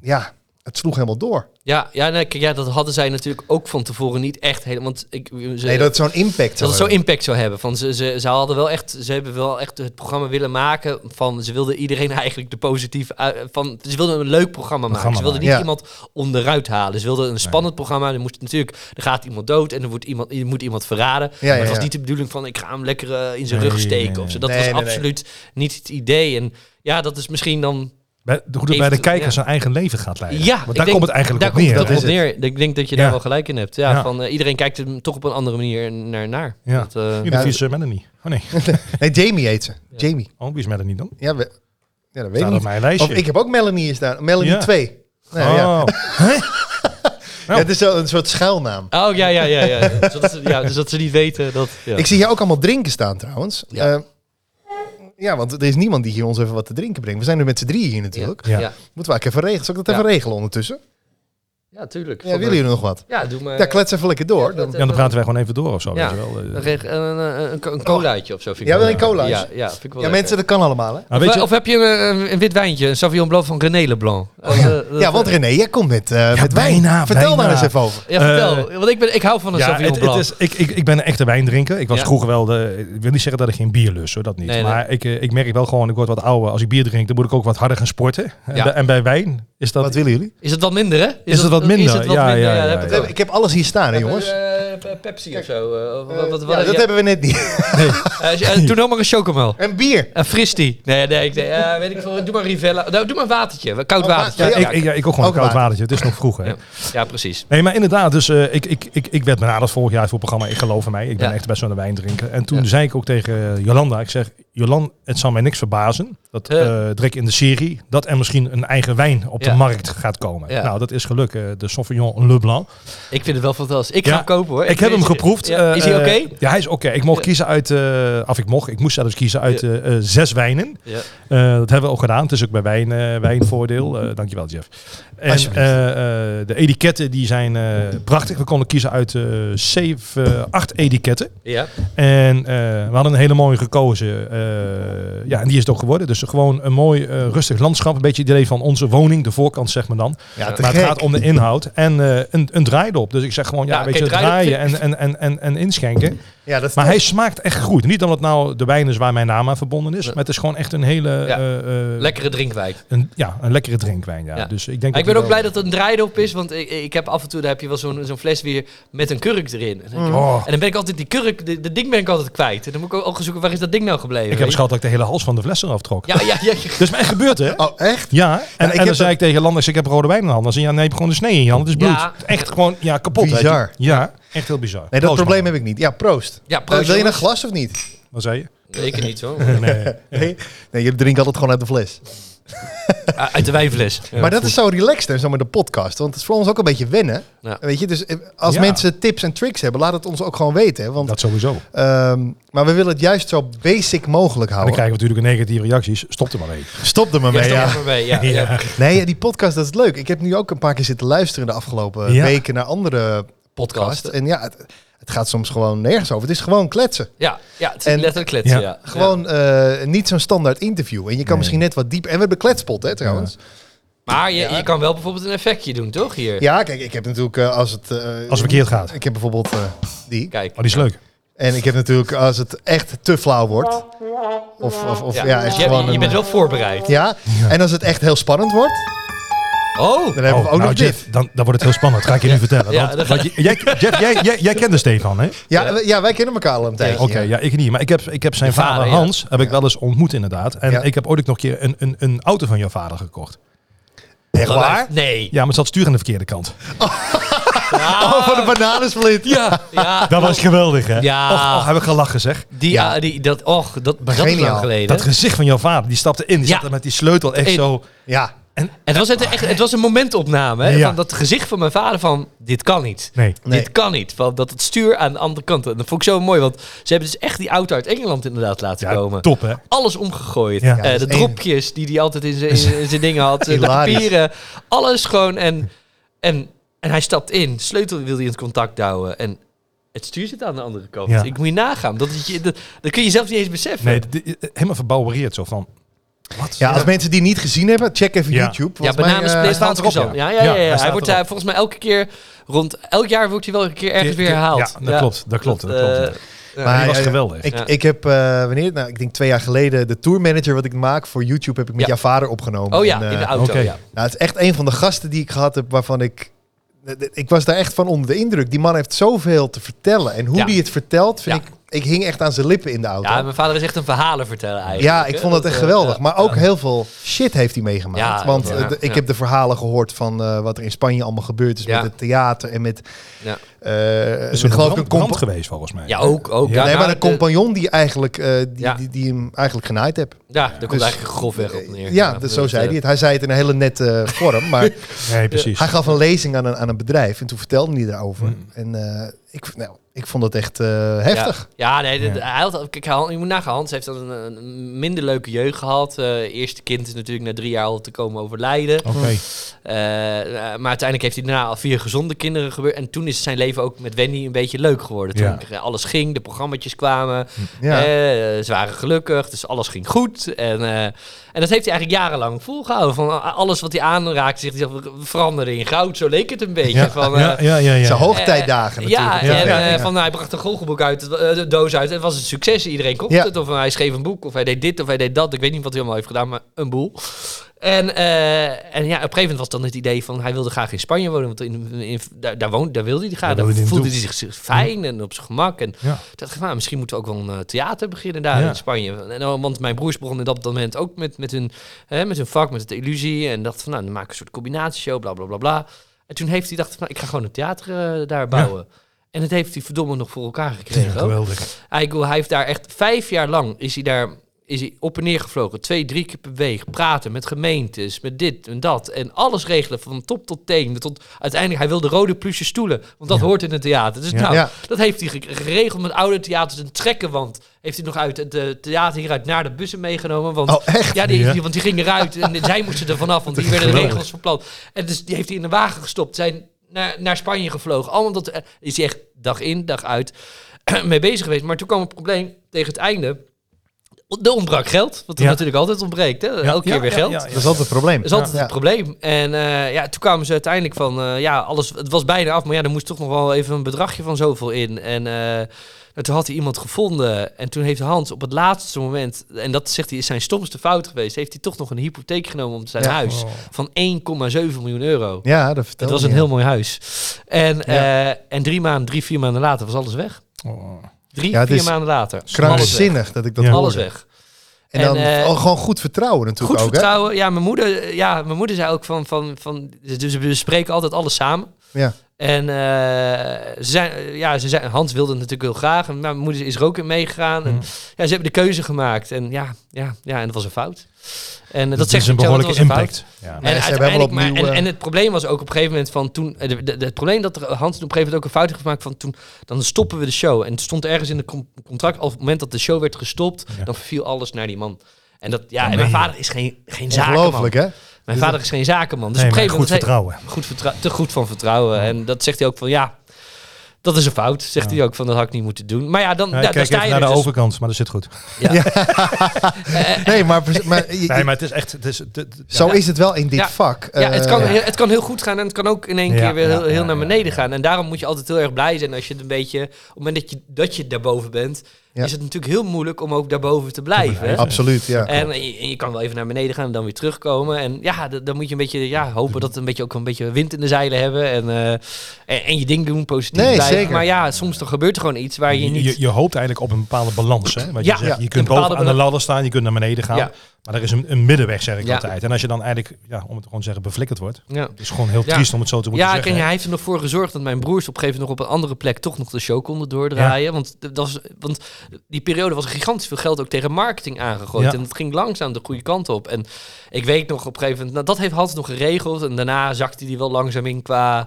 Speaker 1: ja, het sloeg helemaal door.
Speaker 4: Ja, ja, nee, kijk, ja, dat hadden zij natuurlijk ook van tevoren niet echt helemaal. Want ik, ze,
Speaker 1: nee, dat het zo'n impact
Speaker 4: dat
Speaker 1: zou
Speaker 4: het zo
Speaker 1: hebben.
Speaker 4: impact zou hebben. Van ze, ze, ze hadden wel echt, ze hebben wel echt het programma willen maken van ze wilden iedereen eigenlijk de positieve ui- van ze wilden een leuk programma maken.
Speaker 3: Programma
Speaker 4: ze wilden niet
Speaker 1: maken.
Speaker 4: iemand onderuit halen. Ze wilden een spannend programma. Er moet natuurlijk, er gaat iemand dood en er wordt iemand, er moet iemand verraden.
Speaker 1: Ja,
Speaker 4: maar
Speaker 1: ja,
Speaker 4: het was
Speaker 1: ja.
Speaker 4: niet de bedoeling van ik ga hem lekker eh, in zijn
Speaker 3: Nee,
Speaker 4: rug steken
Speaker 3: nee,
Speaker 4: of
Speaker 3: nee.
Speaker 4: zo. Dat
Speaker 1: Nee,
Speaker 4: was
Speaker 1: nee, nee.
Speaker 4: absoluut niet het idee. En ja, dat is misschien dan
Speaker 3: Bij, de- hoe dat bij de
Speaker 4: Even-
Speaker 3: kijker
Speaker 4: ja.
Speaker 3: zijn eigen leven gaat leiden.
Speaker 4: Ja, ik
Speaker 3: Want daar
Speaker 4: denk-
Speaker 3: komt het eigenlijk
Speaker 4: daar
Speaker 3: op neer.
Speaker 4: komt
Speaker 1: dat
Speaker 4: het
Speaker 1: is
Speaker 4: op neer. Ik denk dat je
Speaker 3: Ja.
Speaker 4: daar wel gelijk in hebt. Ja,
Speaker 3: Ja.
Speaker 4: Van, eh, iedereen kijkt er toch op een andere manier naar. naar.
Speaker 3: Ja.
Speaker 4: Dat, eh,
Speaker 3: Jullie
Speaker 1: Ja,
Speaker 3: vies eh, Melanie. Oh nee,
Speaker 1: Nee, Jamie heet ze. Jamie.
Speaker 3: oh, wie is Melanie dan?
Speaker 1: Ja, we, ja dat weet ik
Speaker 3: Staat op
Speaker 1: niet.
Speaker 3: mijn lijstje.
Speaker 1: Of ik heb ook Melanie is daar. Melanie
Speaker 3: Ja.
Speaker 1: 2. Nee,
Speaker 3: oh.
Speaker 1: ja.
Speaker 3: Ja.
Speaker 1: Ja, het is zo een soort schuilnaam.
Speaker 4: Oh ja, ja, ja. ja. Zodat ze, ja dus dat ze niet weten dat. Ja.
Speaker 1: Ik zie hier ook allemaal drinken staan trouwens.
Speaker 4: Ja.
Speaker 1: Ja. ja, want er is niemand die hier ons even wat te drinken brengt. We zijn nu met z'n drieën hier natuurlijk.
Speaker 4: Ja.
Speaker 3: Ja.
Speaker 4: Ja.
Speaker 1: Moeten we eigenlijk even regelen. Zal ik dat even regelen ondertussen?
Speaker 4: Ja, tuurlijk.
Speaker 1: Ja, willen jullie nog wat?
Speaker 4: Ja, doe maar.
Speaker 1: Ja, klets even lekker door.
Speaker 4: Ja,
Speaker 1: Dan,
Speaker 4: dat-
Speaker 3: Ja, dan praten wij gewoon even door of zo. Weet
Speaker 4: Ja.
Speaker 3: je wel. Eh,
Speaker 4: Dan kreeg een, een, een, een colaatje of zo. Vind ik
Speaker 1: Oh. Ja,
Speaker 4: wel
Speaker 1: wil je een
Speaker 4: lekker.
Speaker 1: colaatje?
Speaker 4: Ja, ja, vind ik wel
Speaker 1: ja,
Speaker 4: lekker.
Speaker 1: mensen, dat kan allemaal, hè?
Speaker 3: maar
Speaker 4: of,
Speaker 3: weet je,
Speaker 4: of heb je een, een- een wit wijntje, een Sauvignon Blanc van René Leblanc? Of, eh,
Speaker 1: Oh, Ja, want René, jij komt met, eh, met wijn.
Speaker 3: bijna,
Speaker 1: Vertel
Speaker 3: bijna.
Speaker 1: daar eens even over.
Speaker 4: Ja, vertel. want ik, ben, ik hou van een
Speaker 3: Eh, ja,
Speaker 4: Sauvignon
Speaker 3: het, het
Speaker 4: Blanc.
Speaker 3: is, ik, ik, ik ben een echte wijndrinker. Ik was
Speaker 4: Ja.
Speaker 3: vroeger wel de... Ik wil niet zeggen dat ik geen bier lust, hoor, dat niet.
Speaker 4: Nee, nee.
Speaker 3: maar Ik, eh, ik merk wel gewoon, ik word wat ouder. Als ik bier drink, dan moet ik ook wat harder gaan sporten. En,
Speaker 4: Ja.
Speaker 3: bij- en bij wijn is dat...
Speaker 1: Wat willen jullie?
Speaker 4: Is het wat minder, hè? Is,
Speaker 3: het wat minder? Ja, ja, ja,
Speaker 4: dat heb
Speaker 3: ja.
Speaker 4: ik
Speaker 3: Dat
Speaker 4: ook.
Speaker 3: heb
Speaker 1: Ik heb alles hier staan, hè, jongens.
Speaker 4: Eh, pe- Pepsi of zo. eh, of wat, wat,
Speaker 1: Ja,
Speaker 4: wat-
Speaker 1: dat
Speaker 4: ja.
Speaker 1: hebben we net niet.
Speaker 4: Eh, eh, doe nou maar een chocomel.
Speaker 1: En bier.
Speaker 4: Een fristie. Nee, nee, ik, nee eh, weet ik veel. Doe maar Rivella. Nou, doe maar een watertje. Koud
Speaker 1: Oh, wa-
Speaker 4: watertje.
Speaker 3: ja,
Speaker 1: ja,
Speaker 3: ik, ik, ja, ik ook gewoon
Speaker 1: Ook
Speaker 3: een koud
Speaker 1: water.
Speaker 3: watertje. Het is nog vroeg, hè.
Speaker 4: Ja. Ja, precies.
Speaker 3: Nee, maar inderdaad. Dus eh, ik, ik, ik, ik werd benaderd vorig jaar voor het programma Ik Geloof in Mij. Ik ben
Speaker 4: Ja.
Speaker 3: echt best wel een wijndrinker. En toen
Speaker 4: Ja.
Speaker 3: zei ik ook tegen Jolanda, ik zeg... Jolan, het zal mij niks verbazen dat eh
Speaker 4: Ja.
Speaker 3: Drek in de serie... dat er misschien een eigen wijn op
Speaker 4: Ja.
Speaker 3: de markt gaat komen.
Speaker 4: Ja.
Speaker 3: Nou, dat is geluk. eh, de Sauvignon Le Blanc.
Speaker 4: Ik vind het wel fantastisch. Ik ga
Speaker 3: Ja,
Speaker 4: hem kopen, hoor.
Speaker 3: Ik heb hem
Speaker 4: Eh, Is-
Speaker 3: geproefd.
Speaker 4: ja,
Speaker 3: eh,
Speaker 4: is hij oké?
Speaker 3: eh, ja, hij is oké. Ik mocht
Speaker 4: Ja.
Speaker 3: kiezen uit, eh of ik mocht, ik moest zelfs kiezen uit
Speaker 4: Ja.
Speaker 3: eh, eh, zes wijnen.
Speaker 4: Ja.
Speaker 3: Eh, dat hebben we ook gedaan. Het is ook bij wijn, eh, wijnvoordeel. Eh, dankjewel, Jeff. En
Speaker 1: Alsjeblieft.
Speaker 3: eh, eh, de etiketten die zijn eh, prachtig. We konden kiezen uit eh, zeven, eh, acht etiketten.
Speaker 4: Ja.
Speaker 3: En eh, we hadden een hele mooie gekozen. eh, ja, en die is het ook geworden. Dus gewoon een mooi eh, rustig landschap. Een beetje het idee van onze woning, de voorkant zeg maar dan.
Speaker 1: Ja, te
Speaker 3: Maar het
Speaker 1: gek.
Speaker 3: gaat om de inhoud en eh, een, een draaidop. Dus ik zeg gewoon, ja,
Speaker 4: Ja,
Speaker 3: weet
Speaker 4: oké,
Speaker 3: je,
Speaker 4: draaidop
Speaker 3: draaien en, en, en, en, en inschenken.
Speaker 1: Ja, dat is
Speaker 3: Maar
Speaker 1: top.
Speaker 3: hij smaakt echt goed. Niet omdat nou de wijn is waar mijn naam aan verbonden is. Maar het is gewoon echt een hele...
Speaker 4: Ja.
Speaker 3: eh, eh,
Speaker 4: Lekkere drinkwijk.
Speaker 3: Een, ja, een lekkere drinkwijn. Ja.
Speaker 4: Ja.
Speaker 3: Dus ik, denk
Speaker 4: Maar ik
Speaker 3: dat
Speaker 4: ben ook
Speaker 3: die
Speaker 4: blij
Speaker 3: wel-
Speaker 4: dat het een draaidop is, want ik, ik heb af en toe daar heb je wel zo'n zo'n fles weer met een kurk erin. En dan, denk ik,
Speaker 3: Oh.
Speaker 4: en dan ben ik altijd die kurk, de, de ding ben ik altijd kwijt. En dan moet ik ook, ook gaan zoeken waar is dat ding nou gebleven.
Speaker 3: Ik heb
Speaker 4: weet je?
Speaker 3: schat dat ik de hele hals van de fles eraf trok.
Speaker 4: Ja, ja, ja. ja.
Speaker 3: Dat is me echt gebeurd, hè?
Speaker 1: Oh, echt?
Speaker 3: Ja, en,
Speaker 1: ik
Speaker 3: en
Speaker 1: heb
Speaker 3: dan
Speaker 1: dat-
Speaker 3: zei ik tegen Landers, ik heb rode wijn in de hand. Dan zei hij, ja, nee, ik heb gewoon de snee in je hand. Het is bloed.
Speaker 4: Ja.
Speaker 3: Echt gewoon, ja, kapot. weet je.
Speaker 1: Bizar.
Speaker 3: Ja, echt heel bizar.
Speaker 1: Nee, dat
Speaker 3: Proost,
Speaker 1: probleem
Speaker 3: man.
Speaker 1: heb ik niet. Ja, proost.
Speaker 4: Ja, proost,
Speaker 1: Eh, wil je een
Speaker 4: jongens.
Speaker 1: glas of niet?
Speaker 3: Wat zei je?
Speaker 4: Zeker niet zo.
Speaker 3: Nee.
Speaker 1: Nee, nee je drinkt altijd gewoon uit de fles.
Speaker 4: Ah, Uit de wijnfles.
Speaker 1: maar dat is zo relaxed, hè, zo met de podcast. Want het is voor ons ook een beetje wennen.
Speaker 4: Ja.
Speaker 1: Weet je, dus eh, als
Speaker 3: Ja.
Speaker 1: mensen tips en tricks hebben, laat het ons ook gewoon weten. hè, Want,
Speaker 3: Dat sowieso. En
Speaker 1: ehm, maar we willen het juist zo basic mogelijk
Speaker 3: dan
Speaker 1: houden.
Speaker 3: krijgen we natuurlijk een negatieve reacties. Stop er maar mee.
Speaker 1: Stop er maar
Speaker 4: Ja,
Speaker 1: mee,
Speaker 4: stop
Speaker 1: ja.
Speaker 4: er maar mee, ja, ja.
Speaker 1: Nee, die podcast, dat is leuk. Ik heb nu ook een paar keer zitten luisteren de afgelopen
Speaker 3: Ja.
Speaker 1: weken naar andere podcasts.
Speaker 4: Podcasten.
Speaker 1: En ja, het, het gaat soms gewoon nergens over. Het is gewoon kletsen.
Speaker 4: Ja, ja, het is
Speaker 1: En-
Speaker 4: letterlijk kletsen,
Speaker 3: Ja.
Speaker 4: ja. ja.
Speaker 1: Gewoon eh, niet zo'n standaard interview. En je kan
Speaker 3: Nee.
Speaker 1: misschien net wat dieper... En we hebben kletspot, hè, trouwens.
Speaker 4: Maar je, je kan wel bijvoorbeeld een effectje doen, toch? Hier.
Speaker 1: Ja, kijk, ik heb natuurlijk eh, als het... eh,
Speaker 3: Als het verkeerd gaat.
Speaker 1: Ik heb bijvoorbeeld eh, die.
Speaker 4: Kijk.
Speaker 3: Maar Oh, die is leuk.
Speaker 1: En ik heb natuurlijk als het echt te flauw wordt. Of, of, of ja, echt
Speaker 4: je,
Speaker 1: gewoon...
Speaker 4: je
Speaker 1: een-
Speaker 4: bent wel voorbereid.
Speaker 1: ja, en als het echt heel spannend wordt,
Speaker 4: Oh!
Speaker 1: dan hebben we
Speaker 3: Oh,
Speaker 1: ook
Speaker 3: nou,
Speaker 1: nog
Speaker 3: Jeff,
Speaker 1: dit.
Speaker 3: Dan, dan wordt het heel spannend. Ga ik je nu vertellen.
Speaker 4: Ja,
Speaker 3: want,
Speaker 4: dat-
Speaker 3: want je- jij, Jeff, jij, jij, jij kende Stefan, hè?
Speaker 1: Ja, we- ja, wij kennen elkaar al een tijdje.
Speaker 3: Oké, ja, ik niet. Maar ik heb, ik heb zijn
Speaker 4: Je
Speaker 3: vader,
Speaker 4: vader, ja.
Speaker 3: Hans, heb ik wel eens ontmoet inderdaad. En
Speaker 1: Ja.
Speaker 3: ik heb ooit ook nog een keer een, een, een auto van jouw vader gekocht.
Speaker 1: Echt waar?
Speaker 4: Nee.
Speaker 3: Ja, maar het zat stuur aan de verkeerde kant.
Speaker 1: Oh, van de bananensplit.
Speaker 4: Ja. ja.
Speaker 3: Dat was geweldig, hè?
Speaker 4: Ja.
Speaker 3: Och, och, heb ik gelachen, zeg.
Speaker 4: Die,
Speaker 1: Ja.
Speaker 4: ah, die, dat, och, dat, dat is
Speaker 1: Geniaal.
Speaker 4: lang geleden.
Speaker 3: Dat gezicht van jouw vader, die stapte in. Die
Speaker 4: Ja.
Speaker 3: zat er met die sleutel echt
Speaker 4: Hey.
Speaker 3: zo...
Speaker 1: Ja,
Speaker 4: het, was echt, echt- het was een momentopname. Hè,
Speaker 3: Ja.
Speaker 4: van dat gezicht van mijn vader van, dit kan niet.
Speaker 3: Nee.
Speaker 1: Nee.
Speaker 4: Dit kan niet. Van dat het stuur aan de andere kant. En dat vond ik zo mooi, want ze hebben dus echt die auto uit Engeland inderdaad laten
Speaker 3: Ja,
Speaker 4: komen.
Speaker 3: top, hè?
Speaker 4: Alles omgegooid.
Speaker 3: Ja.
Speaker 4: Eh
Speaker 3: Ja,
Speaker 1: dat
Speaker 4: de
Speaker 1: is één.
Speaker 4: dropjes die hij altijd in zijn- in in zijn dingen had. eh, de
Speaker 1: Hilarisch.
Speaker 4: papieren. Alles gewoon. En, en, en hij stapt in. Sleutel wil hij in het contact houden. En het stuur zit aan de andere kant.
Speaker 3: Ja.
Speaker 4: Ik moet je nagaan. Dat, is je, dat, dat kun je zelf niet eens beseffen.
Speaker 3: Nee, d- d- helemaal verbouwereerd zo van... Wat?
Speaker 1: Ja, als mensen die niet gezien hebben, check even
Speaker 3: Ja.
Speaker 1: YouTube.
Speaker 4: Ja,
Speaker 1: Volgens mij,
Speaker 4: bananen
Speaker 1: eh,
Speaker 4: split
Speaker 3: staat
Speaker 4: staat
Speaker 3: erop,
Speaker 4: ja.
Speaker 3: ja.
Speaker 4: Ja, ja,
Speaker 3: Ja,
Speaker 4: ja,
Speaker 3: hij
Speaker 4: Hij,
Speaker 3: staat
Speaker 4: wordt
Speaker 3: erop.
Speaker 4: eh, volgens mij elke keer rond elk jaar wordt hij wel een keer ergens weer herhaald.
Speaker 3: Ja, dat klopt, dat klopt, dat
Speaker 4: eh,
Speaker 3: klopt.
Speaker 4: ja.
Speaker 1: Maar
Speaker 3: die was
Speaker 1: ja, ja.
Speaker 3: geweldig.
Speaker 1: ik,
Speaker 4: Ja.
Speaker 1: ik heb, eh, wanneer, nou, ik denk twee jaar geleden, de tourmanager wat ik maak voor YouTube heb ik met
Speaker 4: Ja.
Speaker 1: jouw vader opgenomen.
Speaker 4: oh ja,
Speaker 1: En, eh,
Speaker 4: in de auto.
Speaker 3: oké.
Speaker 4: Ja.
Speaker 1: nou, het is echt een van de gasten die ik gehad heb waarvan ik... Ik was daar echt van onder de indruk. Die man heeft zoveel te vertellen. En hoe
Speaker 4: Ja.
Speaker 1: die het vertelt, vind
Speaker 4: Ja.
Speaker 1: ik... Ik hing echt aan zijn lippen in de auto.
Speaker 4: ja,
Speaker 1: Ja,
Speaker 4: mijn vader is echt een verhalen vertellen eigenlijk.
Speaker 1: ik
Speaker 4: hè.
Speaker 1: vond het echt
Speaker 4: eh,
Speaker 1: geweldig.
Speaker 4: ja.
Speaker 1: maar ook heel veel shit heeft hij meegemaakt.
Speaker 4: Ja,
Speaker 1: Want
Speaker 4: ja.
Speaker 1: eh, de- ik
Speaker 4: Ja.
Speaker 1: heb de verhalen gehoord van eh, wat er in Spanje allemaal gebeurd is
Speaker 4: Ja.
Speaker 1: met het theater en met...
Speaker 4: Ja.
Speaker 1: eh,
Speaker 3: is een
Speaker 1: geloof ik
Speaker 3: brand,
Speaker 1: een compa-
Speaker 3: brand geweest, volgens mij.
Speaker 4: Ja, ook. ook
Speaker 3: Ja,
Speaker 4: ja,
Speaker 1: nee,
Speaker 4: nou,
Speaker 1: maar een
Speaker 4: de-
Speaker 1: compagnon die, eigenlijk, eh, die,
Speaker 4: Ja.
Speaker 1: die, die hem eigenlijk genaaid heb.
Speaker 4: Ja, daar komt
Speaker 1: Dus-
Speaker 4: eigenlijk grofweg op neer. eh,
Speaker 1: ja, dat, zo zei hij het. Hij zei het in een hele nette eh, vorm, maar
Speaker 3: Nee, precies.
Speaker 4: Hmm.
Speaker 1: hij gaf een lezing aan een, aan een bedrijf en toen vertelde hij daarover. En eh, ik, nou, ik vond dat echt eh, heftig.
Speaker 4: Ja, nee, dit- Hij had, kijk, Hans- je moet nagaan. Hans heeft dan een, een minder leuke jeugd gehad. Eh, eerste kind is natuurlijk na drie jaar al te komen overlijden.
Speaker 3: Oké.
Speaker 4: Eh, maar uiteindelijk heeft hij daarna al vier gezonde kinderen gebeurd. En toen is zijn leven ook met Wendy een beetje leuk geworden. Toen eh, alles ging, de programma's kwamen.
Speaker 1: Ja.
Speaker 4: Eh, ze waren gelukkig, dus alles ging goed. En, eh, en dat heeft hij eigenlijk jarenlang volgehouden. Van eh, alles wat hij aanraakte, zegt hij, "We veranderen in goud. Zo leek het een beetje. Van, eh,
Speaker 3: ja, ja, ja, ja.
Speaker 1: Het zijn hoogtijdagen
Speaker 4: eh,
Speaker 1: natuurlijk.
Speaker 4: Ja, en,
Speaker 1: ja,
Speaker 4: eh,
Speaker 1: ja.
Speaker 4: Van, nou, hij bracht een goochelboek uit, het wa- eh, de doos uit. Het was een succes. Iedereen kocht
Speaker 1: Ja.
Speaker 4: het. Of hij schreef een boek, of hij deed dit, of hij deed dat. Ik weet niet wat hij allemaal heeft gedaan, maar een boel. En, eh, en ja, op een gegeven moment was dan het idee van... hij wilde graag in Spanje wonen, want in, in- daar, daar, woonde, daar wilde hij graag.
Speaker 3: Daar
Speaker 4: Daar,
Speaker 3: wilde hij
Speaker 4: voelde hij
Speaker 3: naartoe.
Speaker 4: zich zich fijn en op zijn gemak. En
Speaker 3: Ja.
Speaker 4: ik dacht ik, nou, misschien moeten we ook wel een eh, theater beginnen daar
Speaker 3: Ja.
Speaker 4: in Spanje. En, dan- want mijn broers begonnen in dat moment ook met, met, hun, hè, met hun vak, met het illusie. En dacht van, nou, dan maken we een soort combinatieshow, bla, bla, bla, bla. En toen heeft hij dacht van, nou, ik ga gewoon een theater eh, daar bouwen. En dat heeft hij verdomme nog voor elkaar
Speaker 3: Ja,
Speaker 4: gekregen. ook.
Speaker 3: geweldig.
Speaker 4: Hij, ik bedoel, hij heeft daar echt vijf jaar lang is hij daar is hij op en neer gevlogen. Twee, drie keer per week. Praten met gemeentes, met dit en dat. En alles regelen van top tot teen. Tot, uiteindelijk, hij wilde rode pluche stoelen. Want dat hoort in het theater. Dus
Speaker 3: Ja.
Speaker 4: nou,
Speaker 1: Ja.
Speaker 4: dat heeft hij ge- geregeld met oude theaters. Een trekkenwand heeft hij nog uit het eh, theater hieruit naar de bussen meegenomen. Want
Speaker 1: Oh, echt?
Speaker 4: ja, die,
Speaker 3: Ja.
Speaker 4: die- want die ging eruit en zij moesten er vanaf, want die werden de
Speaker 3: Geweldig.
Speaker 4: regels verplant. En dus die heeft hij in de wagen gestopt, zijn naar, naar Spanje gevlogen. Allemaal dat eh, is hij echt dag in, dag uit mee bezig geweest. Maar toen kwam het probleem tegen het einde. Er ontbrak geld, wat er
Speaker 3: Ja.
Speaker 4: natuurlijk altijd ontbreekt. Hè? Elke keer
Speaker 3: Ja,
Speaker 4: weer
Speaker 3: ja,
Speaker 4: geld.
Speaker 3: ja, ja.
Speaker 1: Dat is altijd het probleem.
Speaker 4: Dat is altijd
Speaker 1: Ja.
Speaker 4: het probleem. En eh, ja, toen kwamen ze uiteindelijk van, eh, ja, alles, het was bijna af, maar ja, er moest toch nog wel even een bedragje van zoveel in. En eh, nou, toen had hij iemand gevonden en toen heeft Hans op het laatste moment, en dat zegt hij is zijn stomste fout geweest, heeft hij toch nog een hypotheek genomen op zijn
Speaker 1: Ja.
Speaker 4: huis
Speaker 3: Oh.
Speaker 4: van 1,7 miljoen euro.
Speaker 1: Ja, dat vertel
Speaker 4: Het was een
Speaker 1: je.
Speaker 4: heel mooi huis. En, eh, en drie maanden, drie, vier maanden later was alles weg.
Speaker 3: Oh.
Speaker 4: Drie,
Speaker 1: Ja, het
Speaker 4: vier
Speaker 1: is
Speaker 4: maanden later. Alles weg.
Speaker 1: krankzinnig dat ik dat
Speaker 3: Ja.
Speaker 1: hoorde.
Speaker 4: Alles weg.
Speaker 1: En dan
Speaker 4: En, eh,
Speaker 1: oh, gewoon goed vertrouwen natuurlijk
Speaker 4: Goed
Speaker 1: ook. Hè?
Speaker 4: vertrouwen. Ja, mijn moeder, ja, mijn moeder zei ook van, van, van... Dus we bespreken altijd alles samen.
Speaker 1: Ja.
Speaker 4: En eh, ze zijn, ja, ze zijn, Hans wilde het natuurlijk heel graag. En mijn moeder is er ook in meegegaan. En,
Speaker 3: Hmm.
Speaker 4: ja, ze hebben de keuze gemaakt. En ja, ja, ja en dat was een fout. En eh, dat,
Speaker 3: Dat
Speaker 4: zegt
Speaker 3: Dus is een
Speaker 4: zichzelf, dat
Speaker 3: behoorlijke
Speaker 4: was een fout.
Speaker 3: impact. Ja.
Speaker 1: Nee,
Speaker 4: en,
Speaker 1: ze hebben wel
Speaker 4: uiteindelijk, maar,
Speaker 1: opnieuw,
Speaker 4: en,
Speaker 1: eh,
Speaker 4: en het probleem was ook op een gegeven moment van toen. eh, de- de- het probleem dat er, Hans op een gegeven moment ook een fout heeft gemaakt van toen. Dan stoppen we de show. En het stond ergens in het com- contract. Op het moment dat de show werd gestopt,
Speaker 3: Ja.
Speaker 4: dan viel alles naar die man. En dat ja, en mijn vader is geen, geen zakenman.
Speaker 1: Ongelooflijk, hè?
Speaker 4: Mijn vader is geen zakenman. Dus
Speaker 3: Nee,
Speaker 4: op een
Speaker 3: maar
Speaker 4: gegeven
Speaker 3: goed
Speaker 4: moment.
Speaker 3: vertrouwen.
Speaker 4: Goed vertrou- te goed van vertrouwen. En dat zegt hij ook van ja. Dat is een fout, zegt hij ook van dat had ik niet moeten doen. Maar ja, dan,
Speaker 3: Ja,
Speaker 4: ja,
Speaker 3: ik
Speaker 4: daar
Speaker 3: kijk
Speaker 4: sta
Speaker 3: even
Speaker 4: je
Speaker 3: naar
Speaker 4: er
Speaker 3: de
Speaker 4: dus.
Speaker 3: overkant, maar dat zit goed.
Speaker 1: Nee, maar, pres- maar, je-
Speaker 3: Nee, maar het is echt... Het is, het- het-
Speaker 1: zo
Speaker 3: ja.
Speaker 1: is het wel in dit
Speaker 4: Ja.
Speaker 1: vak.
Speaker 4: Ja, het
Speaker 1: Eh,
Speaker 4: kan, het kan heel goed gaan en het kan ook in één
Speaker 3: Ja,
Speaker 4: keer weer heel,
Speaker 3: ja,
Speaker 4: heel
Speaker 3: ja,
Speaker 4: naar
Speaker 3: ja,
Speaker 4: beneden
Speaker 3: ja.
Speaker 4: gaan. En daarom moet je altijd heel erg blij zijn als je het een beetje... Op het moment dat je, dat je daarboven bent,
Speaker 1: Ja.
Speaker 4: is het natuurlijk heel moeilijk om ook daarboven te blijven. hè?
Speaker 1: Absoluut, ja.
Speaker 4: En je, en je kan wel even naar beneden gaan en dan weer terugkomen. En ja, d- dan moet je een beetje ja, hopen dat het een beetje ook een beetje wind in de zeilen hebben. En, eh, en, en je ding doen, positief
Speaker 1: Nee,
Speaker 4: blijven.
Speaker 1: zeker.
Speaker 4: Maar ja, soms dan gebeurt er gewoon iets waar je
Speaker 3: Je,
Speaker 4: niet...
Speaker 3: je, je hoopt eigenlijk op een bepaalde balans. Hè? Wat
Speaker 4: Ja,
Speaker 3: je, zegt,
Speaker 1: ja.
Speaker 3: je
Speaker 4: Een
Speaker 3: kunt
Speaker 4: bepaalde
Speaker 3: boven aan de
Speaker 4: balans.
Speaker 3: ladder staan, je kunt naar beneden gaan.
Speaker 4: Ja.
Speaker 3: Maar er is een, een middenweg, zeg ik
Speaker 4: Ja.
Speaker 3: altijd. En als je dan eigenlijk, ja, om het gewoon te zeggen, beflikkerd wordt.
Speaker 4: ja.
Speaker 3: Het is gewoon heel
Speaker 4: Ja.
Speaker 3: triest om het zo te moeten
Speaker 4: Ja, ik
Speaker 3: zeggen.
Speaker 4: denk,
Speaker 3: hè.
Speaker 4: hij heeft er nog voor gezorgd dat mijn broers op een gegeven moment nog op een andere plek toch nog de show konden doordraaien. Want, dat was, want die periode was gigantisch veel geld ook tegen marketing aangegooid.
Speaker 3: Ja.
Speaker 4: En dat ging langzaam de goede kant op. En ik weet nog op een gegeven moment, nou, dat heeft Hans nog geregeld. En daarna zakte hij wel langzaam in qua.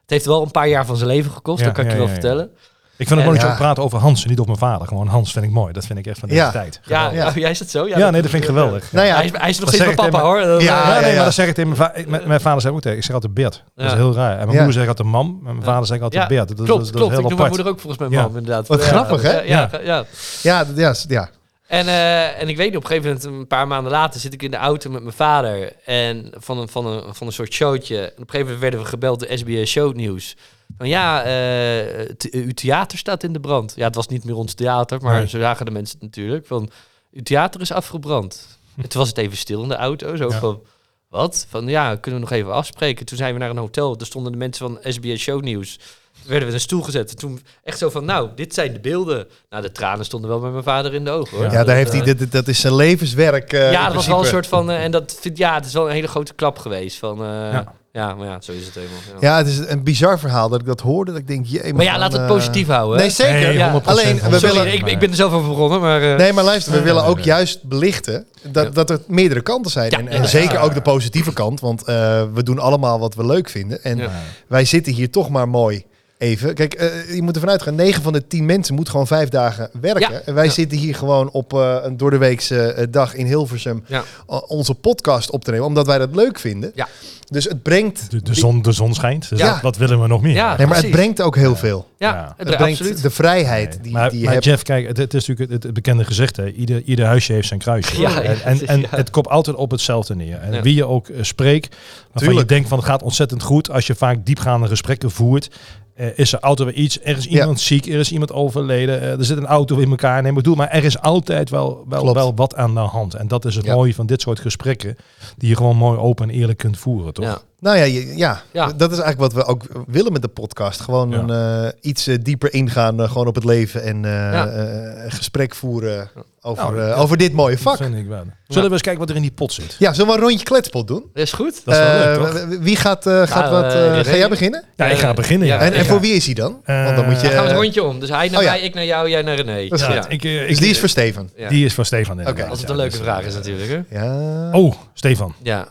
Speaker 4: Het heeft wel een paar jaar van zijn leven gekost,
Speaker 3: Ja,
Speaker 4: dat kan ik
Speaker 3: ja,
Speaker 4: je wel
Speaker 3: ja, ja.
Speaker 4: vertellen.
Speaker 3: Ik vind het mooi dat je
Speaker 1: Ja.
Speaker 3: ook praat over Hans en niet op mijn vader. Gewoon Hans vind ik mooi. Dat vind ik echt van deze
Speaker 1: Ja.
Speaker 3: tijd.
Speaker 4: Ja,
Speaker 1: Ja.
Speaker 4: oh, jij is dat zo?
Speaker 3: Ja, nee, dat vind ik geweldig.
Speaker 1: Nou ja,
Speaker 4: hij, is, hij is nog
Speaker 3: Dat
Speaker 4: steeds
Speaker 3: zeg
Speaker 4: mijn
Speaker 3: ik
Speaker 4: papa hoor. Eh, Dat-
Speaker 1: Ja.
Speaker 3: Ja, nee,
Speaker 1: ja.
Speaker 3: maar dat zeg ik tegen mijn vader. Mijn, mijn vader zei ook tegen, ik zeg altijd Bert. Dat is
Speaker 4: Ja.
Speaker 3: heel raar. En mijn
Speaker 1: Ja.
Speaker 3: moeder zegt altijd mam. En mijn vader zegt altijd
Speaker 4: Ja,
Speaker 3: Bert. Dat, is-
Speaker 4: klopt,
Speaker 3: dat,
Speaker 4: klopt.
Speaker 3: is
Speaker 4: Ik
Speaker 3: heel
Speaker 4: noem mijn
Speaker 3: apart.
Speaker 4: moeder ook volgens mij
Speaker 3: Ja.
Speaker 4: mam, inderdaad.
Speaker 1: Wat
Speaker 4: Ja,
Speaker 1: grappig, hè?
Speaker 4: ja, ja. ja.
Speaker 1: ja, d- ja, s- ja.
Speaker 4: En, eh, en ik weet op een gegeven moment, een paar maanden later, zit ik in de auto met mijn vader. En van een, van een, van een soort showtje. En op een gegeven moment werden we gebeld door SBS Show News. Van ja, eh, t- uw theater staat in de brand. Ja, het was niet meer ons theater, maar
Speaker 3: Nee.
Speaker 4: zo zagen de mensen het natuurlijk. Van, uw theater is afgebrand. En toen was het even stil in de auto. Zo
Speaker 3: Ja.
Speaker 4: van, wat? Van ja, kunnen we nog even afspreken? Toen zijn we naar een hotel. Daar stonden de mensen van SBS Show News. Toen werden we in een stoel gezet. En toen echt zo van, nou, dit zijn de beelden. Nou, de tranen stonden wel bij mijn vader in de ogen. Hoor.
Speaker 3: Ja,
Speaker 1: ja, daar heeft hij,
Speaker 4: eh,
Speaker 1: dit- dit- dat is zijn levenswerk. eh,
Speaker 4: ja,
Speaker 1: in
Speaker 4: dat was wel een
Speaker 1: principe.
Speaker 4: soort van. eh, en dat vind, ja, het is wel een hele grote klap geweest. Van, eh, ja.
Speaker 3: Ja.
Speaker 4: maar ja, zo is het helemaal. Ja.
Speaker 1: Ja, het is een bizar verhaal dat ik dat hoorde. Dat ik denk, jee,
Speaker 4: maar ja,
Speaker 1: man,
Speaker 4: laat het
Speaker 1: eh,
Speaker 4: positief houden. hè.
Speaker 1: Nee, zeker.
Speaker 3: Nee,
Speaker 4: Ja.
Speaker 3: 100%,
Speaker 1: Alleen, we
Speaker 3: 100%.
Speaker 4: Sorry,
Speaker 1: willen-
Speaker 4: ik, ik ben er zelf over begonnen, maar. eh,
Speaker 1: Nee, maar luister, we
Speaker 3: Nee,
Speaker 1: willen
Speaker 3: nee,
Speaker 1: ook
Speaker 3: nee.
Speaker 1: juist belichten dat, dat er meerdere kanten zijn.
Speaker 4: Ja.
Speaker 1: en
Speaker 4: Ja.
Speaker 1: en zeker ook de positieve kant, want eh, we doen allemaal wat we leuk vinden. En
Speaker 4: Ja.
Speaker 1: wij zitten hier toch maar mooi even. Kijk, eh, je moet ervan uitgaan, 9 van de 10 mensen moet gewoon vijf dagen werken.
Speaker 4: Ja.
Speaker 1: En wij
Speaker 4: Ja.
Speaker 1: zitten hier gewoon op eh, een doordeweekse eh, dag in Hilversum
Speaker 4: Ja.
Speaker 1: o- onze podcast op te nemen, omdat wij dat leuk vinden.
Speaker 4: Ja.
Speaker 1: Dus het brengt...
Speaker 3: De, de, zon, de zon schijnt. Dus
Speaker 4: Ja.
Speaker 3: dat, dat willen we nog meer.
Speaker 4: Ja.
Speaker 1: Nee, maar
Speaker 4: Precies.
Speaker 1: het brengt ook heel veel.
Speaker 4: Ja,
Speaker 3: Ja.
Speaker 4: het
Speaker 1: Het
Speaker 4: brengt-
Speaker 1: brengt
Speaker 4: absoluut.
Speaker 1: de vrijheid
Speaker 3: Nee,
Speaker 1: die,
Speaker 3: maar
Speaker 1: die je
Speaker 3: maar
Speaker 1: hebt.
Speaker 3: Jeff, kijk, het, het is natuurlijk het, het bekende gezegd. Hè? Ieder, ieder huisje heeft zijn kruisje.
Speaker 4: Ja, ja,
Speaker 3: en en,
Speaker 4: precies,
Speaker 3: en
Speaker 4: ja.
Speaker 3: het komt altijd op hetzelfde neer. En
Speaker 4: Ja.
Speaker 3: wie je ook eh, spreekt, waarvan
Speaker 1: Tuurlijk.
Speaker 3: je denkt van het gaat ontzettend goed. Als je vaak diepgaande gesprekken voert, eh, is er altijd weer iets. Er is
Speaker 1: Ja.
Speaker 3: iemand ziek, er is iemand overleden. eh, er zit een auto in elkaar. Nee, maar doe maar. Er is altijd wel, wel,
Speaker 1: Klopt.
Speaker 3: wel wat aan de hand. En dat is het
Speaker 1: Ja.
Speaker 3: mooie van dit soort gesprekken. Die je gewoon mooi open en eerlijk kunt voeren, toch?
Speaker 4: Ja.
Speaker 1: Nou ja, je- ja,
Speaker 4: Ja.
Speaker 1: dat is eigenlijk wat we ook willen met de podcast. Gewoon
Speaker 3: Ja.
Speaker 1: een, eh, iets eh, dieper ingaan eh, gewoon op het leven en eh,
Speaker 4: Ja.
Speaker 1: eh, een gesprek voeren over,
Speaker 3: Nou,
Speaker 1: eh, over dit mooie
Speaker 3: Dat
Speaker 1: vak.
Speaker 3: vind ik wel. Zullen we eens kijken wat er in die pot zit?
Speaker 1: Ja, zullen we een rondje kletspot doen?
Speaker 4: Is goed.
Speaker 3: Dat is wel
Speaker 1: Eh,
Speaker 3: leuk, toch?
Speaker 1: w- w- Wie gaat, eh, gaat
Speaker 4: Ja,
Speaker 1: wat... eh,
Speaker 4: eh,
Speaker 1: ga jij
Speaker 4: René.
Speaker 1: beginnen?
Speaker 3: Ja, ik ga beginnen.
Speaker 4: ja.
Speaker 3: ja.
Speaker 1: en en
Speaker 3: Ik
Speaker 1: voor
Speaker 3: ga-
Speaker 1: wie is hij dan? Want dan moet je...
Speaker 3: Eh,
Speaker 4: Dan gaan we het rondje om. Dus hij naar
Speaker 1: oh ja.
Speaker 4: mij, ik naar jou, jij naar René.
Speaker 1: is
Speaker 4: ja.
Speaker 1: goed.
Speaker 3: Ja, ik, eh, ik-
Speaker 1: Dus die is voor Steven.
Speaker 4: Ja.
Speaker 3: Die is van Stefan.
Speaker 1: Oké.
Speaker 4: Als het
Speaker 3: Ja,
Speaker 4: een leuke
Speaker 3: dus-
Speaker 4: vraag is natuurlijk. Hè?
Speaker 1: Ja.
Speaker 3: Oh, Stefan.
Speaker 4: Ja.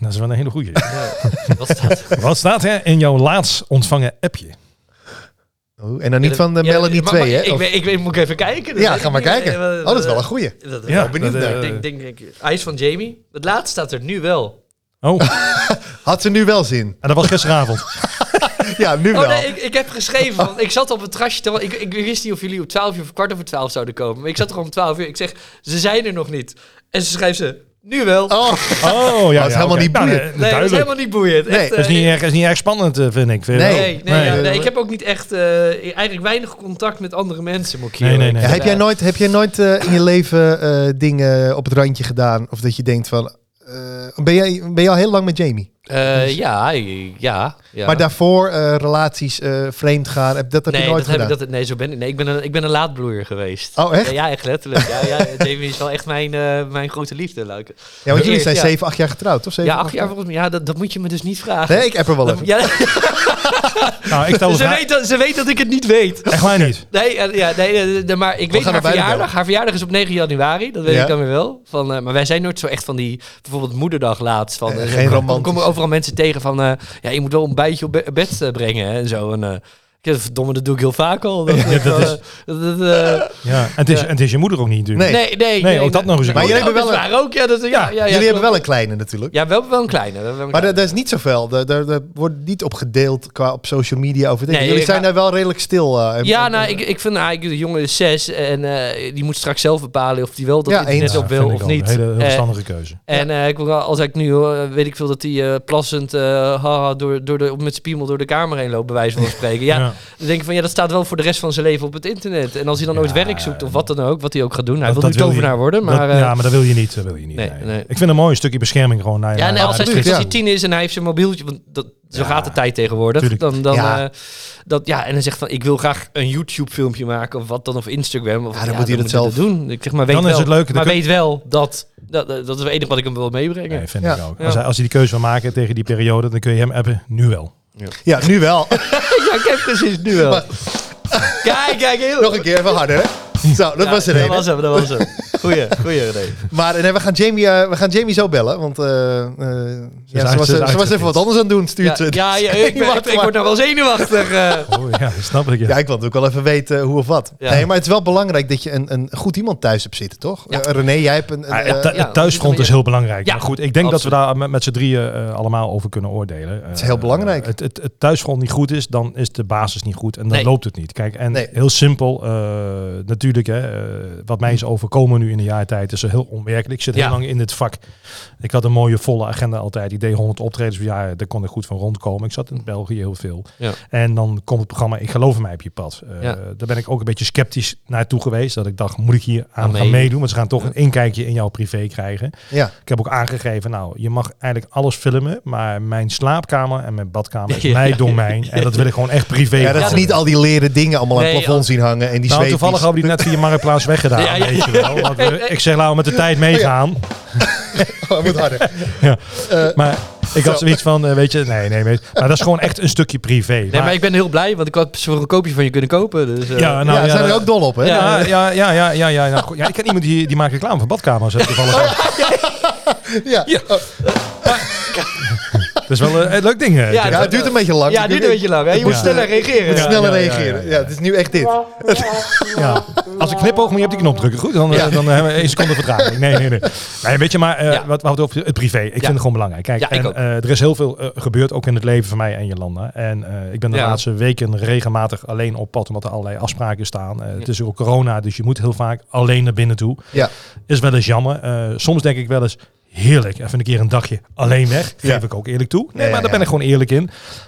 Speaker 3: Dat is wel een hele goeie.
Speaker 4: ja. Wat staat
Speaker 3: Wat staat er in jouw laatst ontvangen appje?
Speaker 1: Oh, En dan niet van de
Speaker 4: Ja,
Speaker 1: Melanie
Speaker 4: maar- maar
Speaker 1: 2, hè?
Speaker 4: Ik,
Speaker 1: Of-
Speaker 4: weet, ik weet, moet ik even kijken. Dat
Speaker 1: Ja,
Speaker 4: weet
Speaker 1: ga
Speaker 4: ik
Speaker 1: maar
Speaker 4: niet.
Speaker 1: kijken.
Speaker 4: Eh,
Speaker 1: Oh, dat is wel een goeie.
Speaker 4: Dat,
Speaker 3: Ja,
Speaker 4: ik
Speaker 1: benieuwd
Speaker 3: dat, eh,
Speaker 1: naar.
Speaker 4: denk, denk, denk- IJs van Jamie. Het laatste staat er nu wel.
Speaker 3: Oh,
Speaker 1: Had ze nu wel zin?
Speaker 3: en dat was gisteravond. Oh,
Speaker 1: Ja, nu
Speaker 4: Oh
Speaker 1: wel.
Speaker 4: nee, ik, ik heb geschreven. Want ik zat op het trasje. Terwijl ik, ik wist niet of jullie op 12 uur of kwart over 12 zouden komen. Maar ik zat er om 12 uur. Ik zeg, ze zijn er nog niet. En ze schrijft ze, nu wel.
Speaker 1: Oh,
Speaker 3: Oh, ja.
Speaker 1: is helemaal niet
Speaker 3: boeiend.
Speaker 1: boeiend.
Speaker 4: nee, dat is helemaal niet boeiend.
Speaker 1: Nee,
Speaker 4: Echt,
Speaker 1: dat
Speaker 3: Dat is
Speaker 4: eh,
Speaker 3: niet erg, is niet erg spannend, eh, vind ik. Vind je
Speaker 1: Nee.
Speaker 3: wel?
Speaker 4: Nee, nee, nee,
Speaker 1: Nee.
Speaker 4: nee, ik heb ook niet echt, eh, eigenlijk weinig contact met andere mensen, moet ik hier
Speaker 3: Nee, nee,
Speaker 4: eerlijk
Speaker 3: nee.
Speaker 1: Ja, heb jij
Speaker 4: zeggen.
Speaker 1: nooit, heb jij nooit eh, in je leven eh, dingen op het randje gedaan? Of dat je denkt van... eh, ben, jij, ben je al heel lang met Jamie?
Speaker 4: Eh, ja, ja, ja.
Speaker 1: Maar daarvoor eh, relaties vreemd gaan, heb, dat heb
Speaker 4: nee,
Speaker 1: je nooit
Speaker 4: dat
Speaker 1: gedaan?
Speaker 4: Heb ik, dat, nee, zo ben ik. Nee, ik ben een, ik ben een laadbloeier geweest.
Speaker 1: Oh, echt?
Speaker 4: Ja, ja, echt letterlijk. Ja, ja, Jamie is wel echt mijn, eh, mijn grote liefde. Luik.
Speaker 1: Ja, want jullie
Speaker 4: Eerst,
Speaker 1: zijn
Speaker 4: ja.
Speaker 1: 7, 8 jaar getrouwd, toch? Zeven,
Speaker 4: Ja, acht jaar volgens mij. Ja, dat, dat moet je me dus niet vragen.
Speaker 1: Nee, ik heb er wel
Speaker 4: Dat-
Speaker 1: even.
Speaker 4: ja,
Speaker 3: Nou, ik stel de
Speaker 4: ze,
Speaker 3: vraag.
Speaker 4: weet dat, ze weet dat ik het niet weet.
Speaker 3: Echt waar niet.
Speaker 4: Nee, eh, ja, nee, eh, de- maar ik weet
Speaker 1: gaan
Speaker 4: haar
Speaker 1: er beide
Speaker 4: verjaardag.
Speaker 1: bellen.
Speaker 4: Haar verjaardag is op 9 januari, dat weet
Speaker 1: Ja.
Speaker 4: ik dan weer wel. Van, eh, maar wij zijn nooit zo echt van die, bijvoorbeeld moederdag laatst. Van,
Speaker 1: Eh,
Speaker 4: eh,
Speaker 1: geen
Speaker 4: kom-
Speaker 1: romantisch.
Speaker 4: Komen overal mensen tegen van, eh, ja, je moet wel een bijtje op be- bed eh, brengen hè, en zo. En, eh, ik zeg, verdomme, dat doe ik heel vaak al. Dat, dat,
Speaker 3: dat
Speaker 4: eh,
Speaker 3: is-
Speaker 4: dat- dat, eh,
Speaker 3: Ja. En, het is, en het is je moeder ook niet natuurlijk.
Speaker 4: nee,
Speaker 1: Nee.
Speaker 4: nee,
Speaker 3: Nee, ook dat nog eens een
Speaker 1: Maar
Speaker 4: Maar
Speaker 1: jullie
Speaker 4: jullie
Speaker 1: hebben wel
Speaker 4: Waar ook, ja, dat, ja, ja, ja,
Speaker 1: jullie hebben
Speaker 4: klopt.
Speaker 1: wel een kleine natuurlijk.
Speaker 4: Ja, wel, wel een kleine. we hebben een
Speaker 1: Maar
Speaker 4: kleine.
Speaker 1: daar, daar is niet zoveel. Daar, daar, daar wordt niet op gedeeld qua op social media over. dingen.
Speaker 4: Nee,
Speaker 1: jullie
Speaker 4: ik ga-
Speaker 1: zijn daar wel redelijk stil. eh, en-
Speaker 4: Ja,
Speaker 1: en-
Speaker 4: nou, ik, ik vind eigenlijk de jongen is zes en eh, die moet straks zelf bepalen of die wel dat
Speaker 1: Ja,
Speaker 4: internet
Speaker 1: eens.
Speaker 4: op wil
Speaker 3: vind ik
Speaker 4: of
Speaker 3: ook. Een
Speaker 4: niet.
Speaker 3: hele heel
Speaker 4: Eh,
Speaker 3: verstandige keuze.
Speaker 4: en eh, ik wil wel, als ik nu hoor, weet ik veel dat hij plassend eh, haha, door, door de, op- met spiemel door de kamer heen loopt, bij wijze van spreken. Ja,
Speaker 3: Ja.
Speaker 4: dan denk ik van ja, dat staat wel voor de rest van zijn leven op het internet. En als hij dan ooit
Speaker 3: Ja,
Speaker 4: werk zoekt of wat dan ook, wat hij ook gaat doen, hij
Speaker 3: Dat-
Speaker 4: wil nu
Speaker 3: dat wil je-
Speaker 4: tovenaar worden,
Speaker 3: Dat-
Speaker 4: maar. eh,
Speaker 3: ja, maar dat wil je niet. Dat wil je niet.
Speaker 4: Nee,
Speaker 3: nee.
Speaker 4: nee.
Speaker 3: Ik vind een mooi stukje bescherming gewoon. Naar,
Speaker 4: Ja,
Speaker 3: naar-
Speaker 4: nee, als hij,
Speaker 3: naar-
Speaker 1: natuurlijk,
Speaker 4: als
Speaker 1: ja.
Speaker 4: hij tien is en hij heeft zijn mobieltje, want dat, zo
Speaker 3: eh, Ja,
Speaker 4: gaat de tijd tegenwoordig.
Speaker 3: tuurlijk.
Speaker 4: Dan, dan,
Speaker 1: Ja.
Speaker 4: ja. dat, ja, en dan zegt van, ik wil graag een YouTube-filmpje maken of wat dan, of Instagram. Of,
Speaker 1: Ja, dan moet hij dat zelf-
Speaker 4: doen. Ik zeg maar, weet
Speaker 3: Dan is
Speaker 4: wel,
Speaker 3: het leuk, dan
Speaker 4: maar
Speaker 3: kun-
Speaker 4: weet wel dat, dat, dat is het enige wat ik hem wil meebrengen.
Speaker 3: Nee, vind
Speaker 1: Ja.
Speaker 3: ik ook.
Speaker 4: Ja.
Speaker 3: Als, hij, als hij die keuze wil maken tegen die periode, dan kun je hem appen. Nu wel.
Speaker 1: Ja, nu wel.
Speaker 4: Ja, ik heb precies nu wel. Kijk, kijk, heel...
Speaker 1: Nog een keer even harder. Hè? Zo, dat
Speaker 4: Ja,
Speaker 1: was de
Speaker 4: dat
Speaker 1: reden.
Speaker 4: was hem, dat was hem. Goeie, goeie René.
Speaker 1: Maar eh, nee, we, gaan Jamie, eh, we gaan Jamie zo bellen. Want eh, eh, ja, ze,
Speaker 3: uit-
Speaker 1: was,
Speaker 3: ze is
Speaker 1: ze was even wat
Speaker 3: uitgepind.
Speaker 1: anders aan het doen,
Speaker 4: Ja,
Speaker 1: stuurt ze.
Speaker 4: ja, ja, ik, ben- ik, ik word nog wel zenuwachtig. eh.
Speaker 3: Oh, ja, dat snap ik. Ja.
Speaker 1: Ja, ik wil natuurlijk wel even
Speaker 3: eh,
Speaker 1: weten hoe of wat.
Speaker 4: Ja.
Speaker 1: Nee, maar het is wel belangrijk dat je een, een goed iemand thuis hebt zitten, toch?
Speaker 4: Ja.
Speaker 1: Eh, René, jij hebt een... een,
Speaker 3: Ah, Ja, het,
Speaker 1: eh,
Speaker 3: het
Speaker 4: ja, op
Speaker 3: thuisfront
Speaker 4: die
Speaker 3: is heel belangrijk.
Speaker 4: Ja,
Speaker 3: maar goed, ik denk dat we
Speaker 4: absoluut.
Speaker 3: daar met, met z'n drieën eh, allemaal over kunnen oordelen. het
Speaker 1: is heel belangrijk.
Speaker 3: het, het, het thuisfront niet goed is, dan is de basis niet goed en dan
Speaker 4: Nee.
Speaker 3: loopt het niet. Kijk, en
Speaker 1: Nee.
Speaker 3: heel simpel, eh, natuurlijk, hè, eh, wat mij is overkomen nu in een jaar tijd is heel onwerkelijk. Ik zit
Speaker 4: Hm. Ja.
Speaker 3: heel lang in dit vak. Ik had een mooie volle agenda altijd. Ik deed 100 optredens per jaar, daar kon ik goed van rondkomen. Ik zat in België heel veel.
Speaker 4: Ja.
Speaker 3: En dan komt het programma Ik geloof in mij op je pad. Eh,
Speaker 4: Ja.
Speaker 3: Daar ben ik ook een beetje sceptisch naartoe geweest. Dat ik dacht, moet ik hier aan
Speaker 4: Aan
Speaker 3: gaan
Speaker 4: meedoen.
Speaker 3: meedoen? Want ze gaan toch een inkijkje in jouw privé krijgen.
Speaker 1: ja.
Speaker 3: Ik heb ook aangegeven, nou, je mag eigenlijk alles filmen, maar mijn slaapkamer en mijn badkamer is
Speaker 4: Ja,
Speaker 3: mijn
Speaker 4: ja,
Speaker 3: domein. En dat wil ik gewoon echt privé.
Speaker 1: ja, dat is
Speaker 3: houden.
Speaker 1: niet al die leren dingen allemaal aan het
Speaker 4: Nee, oh.
Speaker 1: plafond zien hangen. En die
Speaker 3: Nou,
Speaker 1: zweepjes.
Speaker 3: toevallig hadden we die net via Marktplaats weggedaan.
Speaker 4: Ja, ja,
Speaker 3: weet je wel. Want we- ik zeg, laten we met de tijd meegaan.
Speaker 1: Oh, moet harder.
Speaker 3: Maar ik had zoiets van, eh, weet je, nee, nee, weet Maar dat is gewoon echt een stukje privé.
Speaker 4: Nee, maar ik ben heel blij, want ik had voor een koopje van je kunnen kopen. Dus, eh,
Speaker 3: ja, nou,
Speaker 1: ja,
Speaker 3: ja,
Speaker 1: zijn er
Speaker 3: dat-
Speaker 1: ook dol op, hè?
Speaker 4: Ja.
Speaker 3: Ja, ja, ja, ja, ja, ja, Nou, ja, goed. ja. Ik ken iemand die, die maakt reclame van badkamers. hè, toevallig.
Speaker 1: Ja.
Speaker 4: Ja.
Speaker 1: Oh.
Speaker 3: Dat is wel eh, een leuk ding. eh,
Speaker 4: Ja,
Speaker 3: Jack.
Speaker 1: Ja, het duurt een beetje lang.
Speaker 4: Ja, duurt een beetje lang. Hè? Je moet
Speaker 1: moest,
Speaker 4: sneller
Speaker 1: eh,
Speaker 4: reageren.
Speaker 3: Ja,
Speaker 1: sneller
Speaker 3: ja, ja, ja,
Speaker 1: reageren.
Speaker 3: ja.
Speaker 1: Ja, het is nu echt dit.
Speaker 3: Ja. Als ik knipoog, moet je op die knop drukken. Goed, dan, eh, dan hebben we één seconde vertraging. Nee, nee, nee. nee weet je, maar eh,
Speaker 4: Ja.
Speaker 3: wat we hadden over het privé. Ik vind het gewoon belangrijk. Kijk,
Speaker 4: Ja, ik
Speaker 3: en,
Speaker 4: ook.
Speaker 3: eh, er is heel veel eh, gebeurd, ook in het leven van mij en Jolanda. En eh, ik ben de
Speaker 4: Ja.
Speaker 3: laatste weken regelmatig alleen op pad, omdat er allerlei afspraken staan. Eh, Het is ook corona, dus je moet heel vaak alleen naar binnen toe.
Speaker 1: Ja.
Speaker 3: Is wel eens jammer. Eh, soms denk ik wel eens, heerlijk, even een keer een dagje alleen weg. Geef
Speaker 1: Ja.
Speaker 3: ik ook eerlijk toe. Nee,
Speaker 1: Ja,
Speaker 3: maar daar
Speaker 1: ja.
Speaker 3: ben ik gewoon eerlijk in.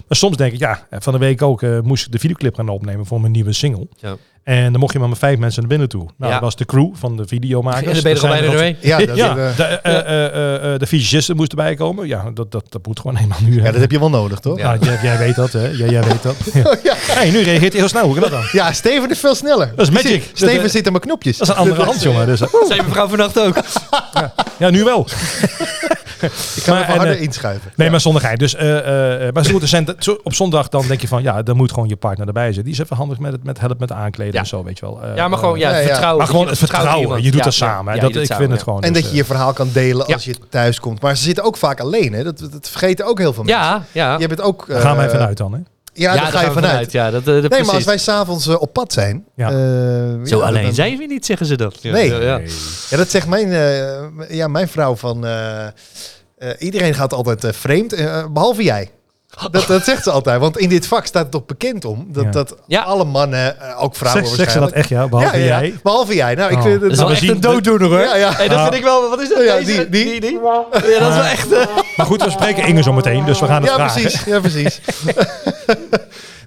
Speaker 3: Maar soms denk ik, ja, van de week ook eh, moest ik de videoclip gaan opnemen voor mijn nieuwe single.
Speaker 4: Ja.
Speaker 3: En dan mocht je maar met vijf mensen naar binnen toe. Nou,
Speaker 4: Ja.
Speaker 3: dat was de crew van de videomakers.
Speaker 4: En dan ben je er al
Speaker 3: zijn
Speaker 4: bijna
Speaker 3: er
Speaker 4: doorheen.
Speaker 1: Ja,
Speaker 3: al- Ja,
Speaker 1: dat, eh,
Speaker 3: de, eh, eh, eh, eh, de fysicisten moesten erbij komen. Ja, dat, dat, dat moet gewoon eenmaal nu.
Speaker 1: ja, dat heb je Oh, wel nodig, toch?
Speaker 4: Ja.
Speaker 1: Ja,
Speaker 3: jij, jij weet dat, hè? Jij, jij weet dat. Ja. Hey, nu reageert hij heel snel. Hoe kan dat dan?
Speaker 1: Steven is veel sneller.
Speaker 3: Dat is magic.
Speaker 1: Die zit- Steven
Speaker 3: Dat, eh,
Speaker 1: zit aan mijn knopjes.
Speaker 3: Dat is een andere hand, jongen. Dus, eh,
Speaker 4: Dat zei mevrouw vannacht ook.
Speaker 3: ja, nu wel.
Speaker 1: Ik ga hem
Speaker 3: Maar,
Speaker 1: even
Speaker 3: en,
Speaker 1: harder
Speaker 3: eh,
Speaker 1: inschuiven.
Speaker 3: Nee, maar zonder gein. Dus, eh, eh, eh, maar zo, goed, er zijn, zo- op zondag dan denk je van, ja, dan moet gewoon je partner erbij zijn. Die is even handig met het met help met aankleden
Speaker 4: Ja.
Speaker 3: en zo, weet je wel. Eh,
Speaker 4: Ja, maar gewoon ja,
Speaker 1: Ja, ja.
Speaker 4: vertrouwen.
Speaker 3: Maar gewoon het
Speaker 4: Je vertrouwt
Speaker 3: vertrouwen.
Speaker 4: iemand.
Speaker 3: Je doet
Speaker 4: Ja,
Speaker 3: dat
Speaker 4: ja.
Speaker 3: samen.
Speaker 4: Ja,
Speaker 3: hè.
Speaker 4: je
Speaker 3: dat,
Speaker 4: doet
Speaker 3: ik
Speaker 4: het
Speaker 3: vind
Speaker 4: samen,
Speaker 3: het
Speaker 4: ja.
Speaker 3: gewoon.
Speaker 1: En
Speaker 3: dus,
Speaker 1: dat je
Speaker 3: eh,
Speaker 1: je verhaal kan delen
Speaker 4: Ja.
Speaker 1: als je thuis komt. Maar ze zitten ook vaak alleen, hè? Dat, dat vergeten ook heel veel mensen.
Speaker 4: Ja, ja.
Speaker 1: Je bent ook...
Speaker 3: Daar gaan wij
Speaker 1: eh,
Speaker 3: vanuit dan, hè?
Speaker 1: Ja, daar
Speaker 4: daar
Speaker 1: ga
Speaker 4: gaan
Speaker 1: je
Speaker 4: we
Speaker 1: vanuit.
Speaker 4: Ja, dat, eh, dat,
Speaker 1: Nee, maar als
Speaker 4: precies.
Speaker 1: wij s'avonds eh, op pad zijn...
Speaker 3: Ja.
Speaker 1: eh,
Speaker 4: Zo
Speaker 1: ja,
Speaker 4: alleen
Speaker 1: dan-
Speaker 4: zijn we niet, zeggen ze dat. Ja,
Speaker 1: Nee.
Speaker 4: ja, ja.
Speaker 1: Ja, dat zegt mijn, eh, ja, mijn vrouw van... eh, eh, iedereen gaat altijd eh, vreemd, eh, behalve jij. Dat, dat zegt ze altijd. Want in dit vak staat het toch bekend om... dat,
Speaker 3: Ja.
Speaker 1: dat
Speaker 4: Ja.
Speaker 1: alle mannen, eh, ook vrouwen
Speaker 3: Zeg, zeg ze dat
Speaker 1: waarschijnlijk...
Speaker 3: echt, ja? Behalve
Speaker 1: ja, ja, ja.
Speaker 3: jij.
Speaker 1: Behalve jij. Nou, ik
Speaker 3: Oh.
Speaker 1: vind
Speaker 4: Dat is wel
Speaker 3: we
Speaker 4: echt
Speaker 3: zien-
Speaker 4: een dooddoener, hoor.
Speaker 1: Ja, ja.
Speaker 4: Hey, dat vind ik wel... Wat is dat?
Speaker 1: Ja,
Speaker 4: Deze?
Speaker 1: die- die.
Speaker 4: Ja, dat is wel echt... eh,
Speaker 3: Maar goed, we spreken Inge zo meteen, dus we gaan het
Speaker 1: Ja,
Speaker 3: vragen.
Speaker 1: precies. Ja, precies.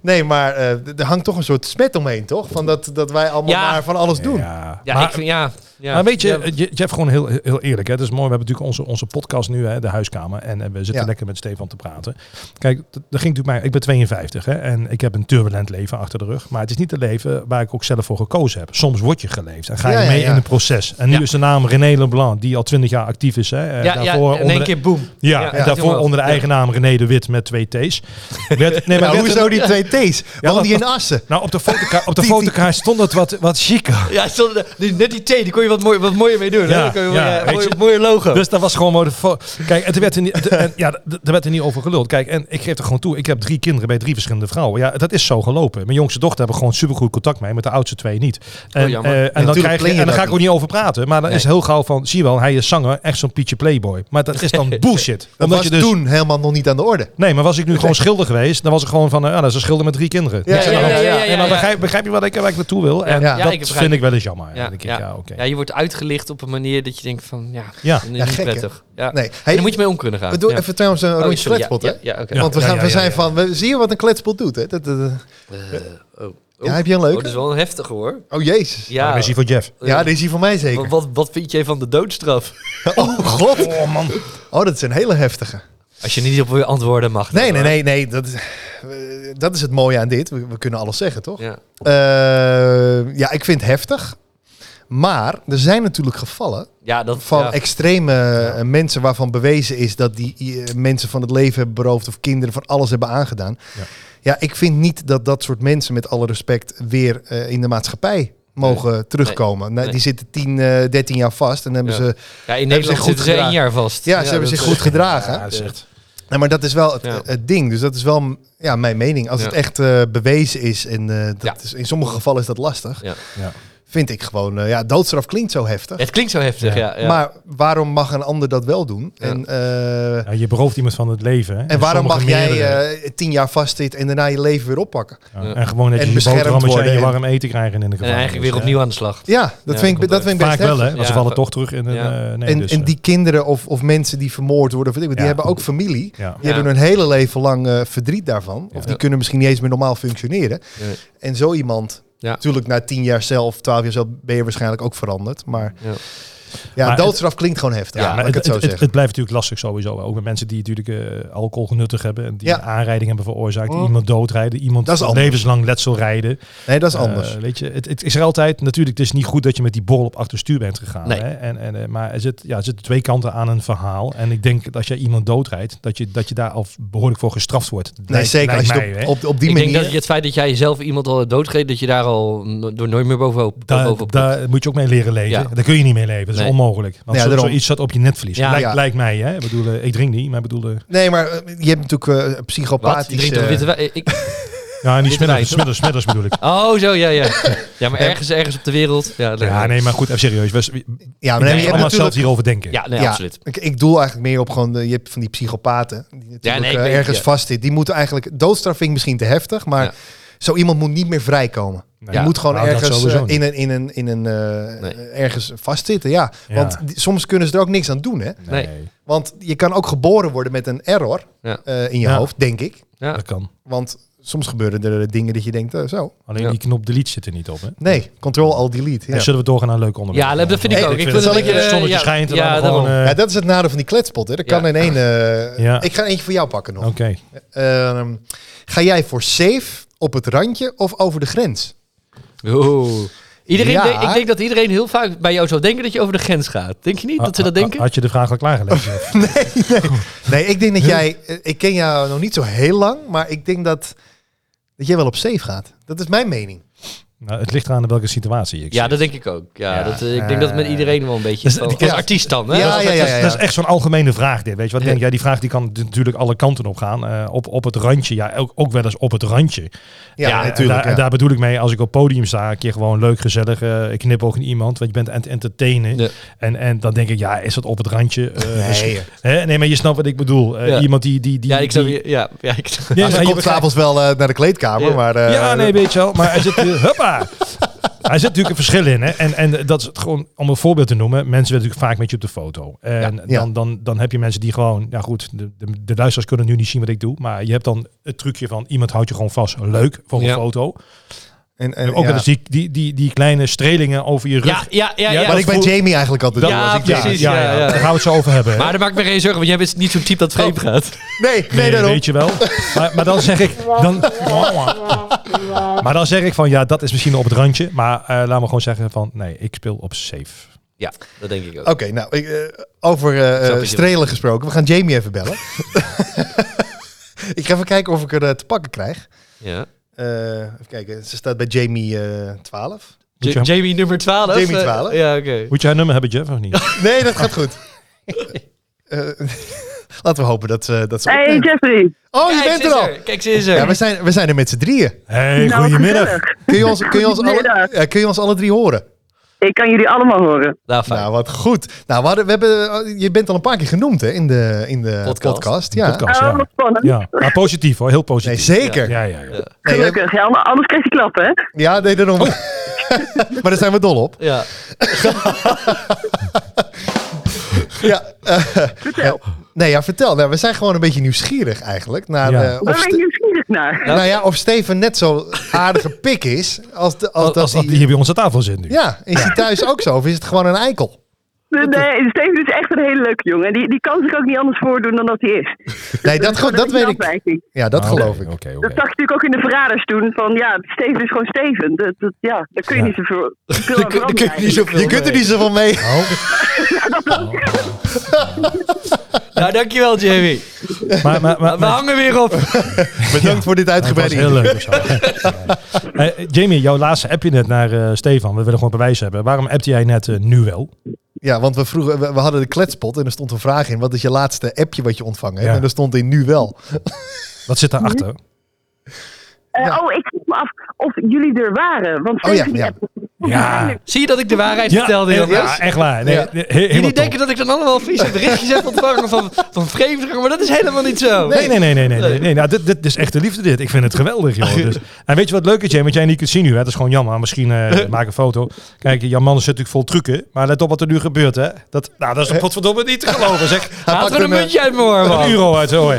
Speaker 1: nee, maar eh, d- er hangt toch een soort smet omheen, toch? Van dat, dat wij allemaal
Speaker 4: Ja.
Speaker 1: maar van alles doen.
Speaker 3: Ja,
Speaker 4: Ja,
Speaker 3: maar,
Speaker 4: ik vind... Ja, ja.
Speaker 3: maar weet je, eh,
Speaker 4: Ja.
Speaker 3: je- Jeff, gewoon heel, heel eerlijk. Hè? Het is mooi, we hebben natuurlijk onze, onze podcast nu, hè, de huiskamer. En, eh, we zitten
Speaker 1: Ja.
Speaker 3: lekker met Stefan te praten. Kijk, dat, dat ging natuurlijk mij... Ik ben 52 hè, en ik heb een turbulent leven achter de rug. Maar het is niet het leven waar ik ook zelf voor gekozen heb. Soms word je geleefd en ga je
Speaker 1: Ja, ja,
Speaker 3: mee
Speaker 1: ja.
Speaker 3: in het proces. En nu
Speaker 4: Ja.
Speaker 3: is de naam René Leblanc, die al 20 jaar actief is. Hè, eh,
Speaker 4: Ja, ja,
Speaker 3: daarvoor
Speaker 4: in
Speaker 3: onder
Speaker 4: één
Speaker 3: de-
Speaker 4: keer boom.
Speaker 3: Ja,
Speaker 4: Ja,
Speaker 3: en
Speaker 4: ja.
Speaker 3: daarvoor onder de eigen naam René de Wit met twee T's. Werd, nee, maar
Speaker 1: Maar
Speaker 3: werd
Speaker 1: hoezo die twee T's? Waarom die
Speaker 3: dat-
Speaker 1: in Assen?
Speaker 3: Nou, op de fotokaart, op de
Speaker 1: Die- die-
Speaker 3: fotokaart stond het wat, wat chiquer.
Speaker 4: Ja, stond er- die- net die thee, die kon je wat, mooi, wat mooier mee
Speaker 3: Ja,
Speaker 4: doen. hè? Dan kon je,
Speaker 3: ja,
Speaker 4: ja,
Speaker 3: weet
Speaker 4: mooi,
Speaker 3: je.
Speaker 4: mooie logo.
Speaker 3: Dus dat was gewoon maar de fo- Kijk, en er werd er niet, de- en, ja, d- er werd er niet over geluld. Kijk, en ik geef er gewoon toe. Ik heb drie kinderen bij drie verschillende vrouwen. Ja, dat is zo gelopen. Mijn jongste dochter heb ik gewoon supergoed contact mee. Met de oudste twee niet. En,
Speaker 4: Oh, jammer.
Speaker 3: eh, en, dan,
Speaker 1: tuurlijk
Speaker 3: krijg je,
Speaker 1: plan je
Speaker 3: en dan
Speaker 1: dat
Speaker 3: ga ik ook niet over praten. Maar dan
Speaker 4: Nee.
Speaker 3: is heel gauw van, zie je wel, hij is zanger. Echt zo'n Pietje Playboy. Maar dat is dan bullshit. dus-
Speaker 1: Dat was toen helemaal nog niet aan de orde.
Speaker 3: Nee, maar was ik nu gewoon schilder geweest, dan was ik gewoon van, eh, ah, dat is een schilder met drie kinderen.
Speaker 1: Ja,
Speaker 3: Niks aan de
Speaker 1: ja,
Speaker 3: hand.
Speaker 1: ja, ja, ja,
Speaker 3: Nee, maar
Speaker 4: ja.
Speaker 3: begrijp, begrijp je wat ik, waar ik naartoe wil? En
Speaker 1: Ja,
Speaker 3: dat
Speaker 4: ik begrijp
Speaker 3: vind
Speaker 4: het.
Speaker 3: ik wel eens jammer. Ja,
Speaker 4: Ja,
Speaker 3: denk ik,
Speaker 4: ja.
Speaker 3: ja, oké.
Speaker 4: Ja, je wordt uitgelicht op een manier dat je denkt van, ja,
Speaker 3: Ja.
Speaker 4: dat is niet
Speaker 1: Ja, gek, hè?
Speaker 4: prettig. Ja.
Speaker 1: Nee.
Speaker 4: En
Speaker 1: Hey,
Speaker 4: daar moet je mee om kunnen gaan.
Speaker 1: we doen
Speaker 4: Ja.
Speaker 1: even trouwens een
Speaker 4: Oh,
Speaker 1: rondje
Speaker 4: sorry, ja,
Speaker 1: kletspot, hè?
Speaker 4: ja, ja, oké.
Speaker 3: Ja.
Speaker 1: Want we, gaan,
Speaker 3: ja,
Speaker 1: we
Speaker 3: ja,
Speaker 1: zijn
Speaker 3: ja.
Speaker 1: van... We, zie je wat een kletspot doet, hè? Dat, dat- dat-
Speaker 4: Eh, oh, oh.
Speaker 1: ja, heb je een
Speaker 4: Oh, dat is
Speaker 1: leuke?
Speaker 4: wel een heftige hoor.
Speaker 1: Oh, jezus.
Speaker 3: Ja,
Speaker 4: Ja,
Speaker 3: dan is die voor Jeff.
Speaker 4: eh,
Speaker 1: Ja, die is hier voor mij zeker.
Speaker 4: wat, wat vind jij van de doodstraf?
Speaker 1: Oh, god.
Speaker 3: Oh man.
Speaker 1: Oh, dat is een hele heftige.
Speaker 4: Als je niet op je antwoorden mag.
Speaker 1: Nee, nee,
Speaker 4: dan,
Speaker 1: nee. nee dat, is, eh, dat is het mooie aan dit. We, we kunnen alles zeggen, toch?
Speaker 4: Ja.
Speaker 1: Eh, ja, ik vind het heftig. Maar er zijn natuurlijk gevallen
Speaker 4: ja, dat
Speaker 1: van
Speaker 4: ja.
Speaker 1: extreme eh, mensen waarvan bewezen is dat die eh, mensen van het leven hebben beroofd of kinderen van alles hebben aangedaan.
Speaker 3: Ja.
Speaker 1: Ja, ik vind niet dat dat soort mensen met alle respect weer eh, in de maatschappij mogen terugkomen. Nou,
Speaker 4: Nee.
Speaker 1: Die zitten 10, eh 13 jaar vast en dan hebben
Speaker 4: Ja.
Speaker 1: ze,
Speaker 4: Ja, in
Speaker 1: hebben zich
Speaker 4: Nederland
Speaker 1: goed
Speaker 4: zitten ze één
Speaker 1: gedragen.
Speaker 4: jaar vast.
Speaker 1: ja, ze
Speaker 4: dat
Speaker 1: hebben zich
Speaker 4: is-
Speaker 1: goed gedragen.
Speaker 3: Ja, dat is echt-
Speaker 1: Ja, Nou, maar dat is wel het,
Speaker 4: Ja.
Speaker 1: het ding. Dus dat is wel m- ja, mijn mening. Als
Speaker 4: Ja.
Speaker 1: het echt eh, bewezen is, en eh, dat
Speaker 4: Ja.
Speaker 1: is, in sommige gevallen is dat lastig,
Speaker 4: Ja.
Speaker 3: Ja.
Speaker 1: vind ik gewoon, eh, ja, doodstraf klinkt zo heftig.
Speaker 4: Het klinkt zo heftig,
Speaker 3: Ja.
Speaker 4: ja. ja.
Speaker 1: Maar waarom mag een ander dat wel doen?
Speaker 4: Ja.
Speaker 1: En, eh,
Speaker 3: Ja, je berooft iemand van het leven. hè.
Speaker 1: en waarom mag
Speaker 3: sommige
Speaker 1: jij
Speaker 3: meerdere.
Speaker 1: eh, tien jaar vastzitten en daarna je leven weer oppakken?
Speaker 3: Ja,
Speaker 4: Ja.
Speaker 3: En gewoon dat
Speaker 1: en
Speaker 3: je je
Speaker 1: beschermd
Speaker 3: boterhammetje en je
Speaker 1: worden en-
Speaker 3: warm eten krijgen in de
Speaker 4: en
Speaker 3: gevangenis.
Speaker 4: eigenlijk weer opnieuw aan de slag.
Speaker 1: Ja, dat
Speaker 4: dat
Speaker 1: vind ik,
Speaker 4: komt
Speaker 1: dat
Speaker 4: ook.
Speaker 1: vind ik best
Speaker 3: Vaak wel, hè?
Speaker 1: heftig.
Speaker 3: Want ze
Speaker 4: Ja.
Speaker 3: vallen toch terug in een...
Speaker 4: Ja.
Speaker 3: eh, nee,
Speaker 1: En,
Speaker 3: dus,
Speaker 1: en
Speaker 3: eh,
Speaker 1: die kinderen of, of mensen die vermoord worden, of weet ik wat, die
Speaker 3: Ja.
Speaker 1: hebben ook familie.
Speaker 3: Ja.
Speaker 1: Die
Speaker 4: Ja.
Speaker 1: hebben hun hele leven lang eh, verdriet daarvan. Of
Speaker 3: Ja.
Speaker 1: die kunnen misschien niet eens meer normaal functioneren.
Speaker 4: Nee.
Speaker 1: En zo iemand,
Speaker 4: Ja.
Speaker 1: natuurlijk na tien jaar zelf, twaalf jaar zelf, ben je waarschijnlijk ook veranderd. Maar
Speaker 4: Ja.
Speaker 1: ja,
Speaker 3: Maar
Speaker 1: doodstraf klinkt gewoon heftig.
Speaker 3: Ja,
Speaker 1: Ja,
Speaker 3: maar
Speaker 1: ik
Speaker 3: het,
Speaker 1: het zo
Speaker 3: het, het,
Speaker 1: zeggen.
Speaker 3: het blijft natuurlijk lastig sowieso. Ook met mensen die natuurlijk eh alcohol genuttig hebben. En die
Speaker 1: Ja. Oh.
Speaker 3: een aanrijding hebben veroorzaakt. Die iemand doodrijden. Iemand
Speaker 1: Dat is anders.
Speaker 3: levenslang letsel rijden.
Speaker 1: nee, dat is
Speaker 3: Eh,
Speaker 1: anders.
Speaker 3: weet je, het, het is er altijd natuurlijk. Het is niet goed dat je met die bol op achterstuur bent gegaan.
Speaker 4: Nee.
Speaker 3: Hè? En, en, eh, maar er zit, ja, er zitten twee kanten aan een verhaal. En ik denk dat als je iemand doodrijdt, dat je, dat je daar al behoorlijk voor gestraft wordt. Dat
Speaker 1: nee,
Speaker 3: lijkt-
Speaker 1: zeker als
Speaker 3: lijkt
Speaker 1: je
Speaker 3: mij,
Speaker 1: het
Speaker 3: hè.
Speaker 1: op, op, op die
Speaker 4: ik
Speaker 1: manier...
Speaker 4: denk dat je het feit dat jij zelf iemand al hebt doodgegeven, dat je daar al no- door nooit meer bovenop,
Speaker 3: Daar,
Speaker 4: bovenop komt.
Speaker 3: daar moet je ook mee leren leven.
Speaker 4: Ja.
Speaker 3: Daar kun je niet mee leven. Dat is
Speaker 4: Nee.
Speaker 3: onmogelijk. Want
Speaker 1: Ja,
Speaker 3: zo,
Speaker 1: daarom.
Speaker 3: zoiets zat op je netverlies.
Speaker 4: Ja.
Speaker 3: lijkt,
Speaker 1: Ja.
Speaker 3: lijkt mij, hè? Ik bedoel, eh, ik drink niet, maar ik bedoel... eh,
Speaker 1: Nee, maar eh, je hebt natuurlijk eh,
Speaker 4: Wat? Je
Speaker 1: psychopathische...
Speaker 4: drinkt toch witte wijn? Ik...
Speaker 3: ja, niet
Speaker 4: Witte wijn,
Speaker 3: smidders,
Speaker 4: toch?
Speaker 3: smidders, smidders bedoel ik.
Speaker 4: Oh, zo, ja, ja. Ja, maar ergens, ergens op de wereld. Ja, nee,
Speaker 3: Ja, nee, maar goed, even serieus. We, we- we
Speaker 1: ja, maar
Speaker 3: kunnen
Speaker 1: nee, je hebt
Speaker 3: allemaal zelf
Speaker 1: natuurlijk...
Speaker 3: hierover denken.
Speaker 4: Ja, nee,
Speaker 1: ja,
Speaker 4: absoluut.
Speaker 1: Ik, ik doel eigenlijk meer op gewoon, de, je hebt van die psychopaten die natuurlijk
Speaker 4: nee, ik
Speaker 1: eh,
Speaker 4: weet-
Speaker 1: ergens
Speaker 4: ja.
Speaker 1: vastzitten. Die moeten eigenlijk, doodstraf vind ik misschien te heftig, maar
Speaker 4: Ja.
Speaker 1: zo iemand moet niet meer vrijkomen.
Speaker 3: Nee.
Speaker 1: je moet gewoon
Speaker 3: Nou, dat
Speaker 1: ergens
Speaker 3: sowieso
Speaker 1: eh, in
Speaker 3: niet.
Speaker 1: een, in een, in een eh,
Speaker 4: Nee.
Speaker 1: ergens vastzitten, ja.
Speaker 3: Ja.
Speaker 1: Want die- soms kunnen ze er ook niks aan doen, hè.
Speaker 4: Nee.
Speaker 1: Want je kan ook geboren worden met een error
Speaker 4: Ja.
Speaker 1: eh, in je
Speaker 3: Ja.
Speaker 1: hoofd, denk ik.
Speaker 4: Ja.
Speaker 3: dat kan.
Speaker 1: Want soms gebeuren er dingen dat je denkt, eh, zo.
Speaker 3: Alleen
Speaker 4: Ja.
Speaker 3: die knop delete zit er niet op, hè?
Speaker 1: Nee, control al delete. Ja.
Speaker 3: En zullen we doorgaan naar een leuk onderwerp?
Speaker 4: Ja, dat vind ik
Speaker 3: Want
Speaker 4: ook. Ik
Speaker 1: vind
Speaker 3: het
Speaker 1: het wel-
Speaker 3: eh, zonnetje
Speaker 4: ja,
Speaker 3: schijnt. en
Speaker 4: ja,
Speaker 3: laten we gewoon,
Speaker 4: daarom.
Speaker 3: eh,
Speaker 1: Ja, dat is het nadeel van die kletspot. Hè. Dat
Speaker 4: Ja.
Speaker 1: kan in één. eh,
Speaker 3: Ja.
Speaker 1: Ik ga eentje voor jou pakken nog.
Speaker 3: Oké.
Speaker 1: Ehm, ga jij voor safe op het randje of over de grens?
Speaker 4: Oeh. Iedereen
Speaker 1: Ja.
Speaker 4: denkt- ik denk dat iedereen heel vaak bij jou zou denken dat je over de grens gaat. Denk je niet dat ze dat
Speaker 3: Ha- ha-
Speaker 4: denken?
Speaker 3: Had je de vraag al klaargelegd? of?
Speaker 1: Nee, ik denk dat jij. eh, Ik ken jou nog niet zo heel lang, maar ik denk dat, dat jij wel op safe gaat. Dat is mijn mening.
Speaker 3: nou, het ligt eraan in welke situatie ik
Speaker 4: ja,
Speaker 3: zit.
Speaker 4: dat denk ik ook. Ja,
Speaker 3: Ja.
Speaker 4: Dat, eh, ik denk dat het met iedereen wel een beetje...
Speaker 3: Dus,
Speaker 4: van-
Speaker 3: die-
Speaker 4: als
Speaker 1: ja.
Speaker 4: artiest dan, hè?
Speaker 1: Ja,
Speaker 4: Dat is-
Speaker 1: ja, ja, ja.
Speaker 3: Dat is echt zo'n algemene vraag dit, weet je wat ik
Speaker 4: Ja.
Speaker 3: denk? Ja, die vraag die kan natuurlijk alle kanten op gaan. Eh, op, op het randje, ja, ook, ook wel eens op het randje.
Speaker 1: Ja,
Speaker 3: en
Speaker 1: natuurlijk.
Speaker 3: Daar,
Speaker 1: ja.
Speaker 3: daar bedoel ik mee, als ik op podium sta, een keer gewoon leuk, gezellig, eh, ik knip ook in iemand, want je bent aan het entertainen.
Speaker 4: Ja.
Speaker 3: En, en dan denk ik, ja, is dat op het randje? Eh,
Speaker 1: Nee,
Speaker 3: dus- hè? nee, maar je snapt wat ik bedoel. Eh,
Speaker 4: Ja.
Speaker 3: Iemand die... die, die
Speaker 4: Ja, ik zou...
Speaker 3: die-
Speaker 4: Ja, ja, ik
Speaker 3: Nee,
Speaker 1: Als
Speaker 3: maar
Speaker 1: je
Speaker 3: je
Speaker 1: komt
Speaker 3: begrijpt-
Speaker 1: s'avonds wel eh, naar de kleedkamer,
Speaker 4: Ja.
Speaker 1: maar. eh,
Speaker 3: ja, nee, weet je wel. Maar er zit, eh, huppa. Er zit natuurlijk een verschil in. Hè? En, en dat is het gewoon, om een voorbeeld te noemen, mensen willen natuurlijk vaak met je op de foto. En
Speaker 1: Ja. Ja.
Speaker 3: Dan, dan, dan heb je mensen die gewoon, ja goed, de, de, de luisteraars kunnen nu niet zien wat ik doe. Maar je hebt dan het trucje van iemand houdt je gewoon vast. Leuk voor een
Speaker 4: Ja.
Speaker 3: foto.
Speaker 1: en, en,
Speaker 3: Ook
Speaker 1: ja.
Speaker 3: wel eens die, die, die, die kleine strelingen over je rug.
Speaker 4: Ja, ja, ja.
Speaker 3: Ja,
Speaker 4: ja.
Speaker 1: Maar ik ben
Speaker 3: voel-
Speaker 1: Jamie eigenlijk altijd.
Speaker 4: Dat-
Speaker 1: wel
Speaker 4: Ja,
Speaker 1: als ik
Speaker 4: precies.
Speaker 1: Jamie-
Speaker 3: ja, ja,
Speaker 4: ja, ja.
Speaker 3: Daar gaan we het zo over hebben. hè.
Speaker 4: Maar daar maak ik me geen zorgen, want jij bent niet zo'n type dat
Speaker 3: Oh.
Speaker 4: vreemd gaat.
Speaker 1: Nee, nee,
Speaker 3: Nee,
Speaker 1: daarom.
Speaker 3: weet je wel. Maar, maar dan zeg ik... Dan, maar dan zeg ik van, ja, dat is misschien op het randje. Maar eh laat me gewoon zeggen van, nee, ik speel op safe.
Speaker 4: Ja, dat denk ik ook.
Speaker 3: Oh.
Speaker 1: Oké, nou, ik, eh, over eh,
Speaker 4: Snap je,
Speaker 1: strelen gesproken. We gaan Jamie even bellen. ik ga even kijken of ik er eh, te pakken krijg.
Speaker 4: Ja.
Speaker 1: Eh, even kijken, ze staat bij Jamie eh, 12.
Speaker 3: Moet je
Speaker 4: Ja-
Speaker 3: hem-
Speaker 4: Jamie nummer 12.
Speaker 1: Jamie
Speaker 4: eh,
Speaker 1: 12.
Speaker 4: Ja, oké.
Speaker 3: Moet je haar nummer hebben, Jeff, of niet?
Speaker 1: Nee, dat gaat goed. Eh, laten we hopen dat ze... Dat ze
Speaker 5: Hey
Speaker 1: opneemt.
Speaker 5: Jeffrey.
Speaker 1: oh, je
Speaker 4: Kijk,
Speaker 1: bent
Speaker 4: ze
Speaker 1: er
Speaker 4: is
Speaker 1: al!
Speaker 4: er. Kijk, ze is er.
Speaker 1: Ja, we zijn, we zijn er met z'n drieën.
Speaker 3: Hey,
Speaker 5: Nou,
Speaker 3: goedemiddag.
Speaker 5: gezellig.
Speaker 1: Kun je ons, kun je ons, alle,
Speaker 5: Goedemiddag.
Speaker 1: ja, kun je ons alle drie horen?
Speaker 5: Ik kan jullie allemaal horen.
Speaker 4: Nou, fijn.
Speaker 1: Nou, wat goed. Nou, we hadden, we hebben, je bent al een paar keer genoemd hè, in de, in de podcast.
Speaker 4: Podcast.
Speaker 1: ja.
Speaker 3: Podcast,
Speaker 5: oh,
Speaker 3: ja.
Speaker 5: wat spannend.
Speaker 3: ja. Maar positief hoor, heel
Speaker 1: Nee,
Speaker 3: positief.
Speaker 1: zeker.
Speaker 3: Ja, ja, ja.
Speaker 1: Nee, we-
Speaker 5: Gelukkig, ja, maar anders krijg je klappen, hè?
Speaker 1: Ja, nee, daarom. maar daar zijn we dol op.
Speaker 4: ja.
Speaker 1: Ja, eh, eh, nee, ja, vertel. Nou, we zijn gewoon een beetje nieuwsgierig eigenlijk. Naar,
Speaker 3: Ja.
Speaker 1: eh,
Speaker 5: Waar
Speaker 1: of,
Speaker 5: ben
Speaker 1: Ste-
Speaker 5: je nieuwsgierig naar?
Speaker 1: nou ja, of Steven net zo aardige pik is als, de, als,
Speaker 3: Als,
Speaker 1: dat
Speaker 3: als dat
Speaker 1: hij-
Speaker 3: die hier bij ons aan tafel zit nu.
Speaker 1: Ja, is hij thuis ook zo? Of is het gewoon een eikel?
Speaker 5: Nee, Steven is echt een hele leuke jongen. Die, die kan zich ook niet anders voordoen dan dat hij is.
Speaker 1: Nee, dat, ge- dat
Speaker 5: is
Speaker 1: weet
Speaker 5: een
Speaker 1: ik.
Speaker 5: afwijking.
Speaker 1: Ja, dat
Speaker 3: Ah, oké,
Speaker 1: geloof ik.
Speaker 3: Oké, oké.
Speaker 5: Dat zag je natuurlijk ook in de verraders toen. Van ja, Steven is gewoon Steven. Dat, dat, ja, daar kun je
Speaker 3: Ja.
Speaker 5: niet zoveel veel
Speaker 4: Daar
Speaker 5: aan
Speaker 4: kun- daar kun je
Speaker 5: veranderen.
Speaker 4: niet zoveel
Speaker 1: Je kunt er
Speaker 4: mee.
Speaker 1: niet zoveel mee.
Speaker 3: Oh,
Speaker 4: Nou, dankjewel, Jamie.
Speaker 3: Maar, maar, maar,
Speaker 1: Nou,
Speaker 4: We hangen weer op.
Speaker 1: Bedankt voor
Speaker 3: het was
Speaker 1: dit uitgebreide
Speaker 3: heel
Speaker 1: interview.
Speaker 3: leuk. was dat. Ja. Eh, Jamie, jouw laatste appje net naar eh, Stefan. We willen gewoon bewijs hebben. Waarom appte jij net eh, nu wel?
Speaker 1: Ja, want we, vroegen, we, we hadden de kletspot en er stond een vraag in. Wat is je laatste appje wat je ontvangen hebt?
Speaker 3: Ja.
Speaker 1: En er stond in nu wel.
Speaker 3: Wat zit daarachter?
Speaker 5: Eh,
Speaker 1: Ja.
Speaker 5: Oh, ik vroeg me af of jullie er waren. Want
Speaker 1: Oh, ja,
Speaker 5: Steven die
Speaker 1: ja.
Speaker 5: appte-
Speaker 3: Ja.
Speaker 4: Zie je dat ik de waarheid vertelde,
Speaker 3: ja,
Speaker 4: jongens?
Speaker 3: ja, echt waar. Nee,
Speaker 1: Ja.
Speaker 3: he- helemaal
Speaker 4: Jullie
Speaker 3: top.
Speaker 4: denken dat ik dan allemaal vieze berichtjes heb ontvangen van, van vreemdelingen, maar dat is helemaal niet zo.
Speaker 3: Nee, nee, nee, nee, nee. nee, nee. Nou, dit, dit is echte liefde dit. Ik vind het geweldig, joh. Dus, en weet je wat leuk is, Jay? Want jij niet kunt zien nu, hè? Dat is gewoon jammer. Misschien eh, maak een foto. Kijk, Jan Mannen zit natuurlijk vol trucken. Maar let op wat er nu gebeurt, hè? Dat, nou,
Speaker 1: Eh.
Speaker 3: dat is godverdomme niet te geloven, zeg.
Speaker 1: Hij
Speaker 4: Haal
Speaker 1: pakt
Speaker 4: er een
Speaker 1: hem, eh,
Speaker 4: muntje uit mijn oor,
Speaker 3: Een
Speaker 4: man.
Speaker 3: euro uit, hoor.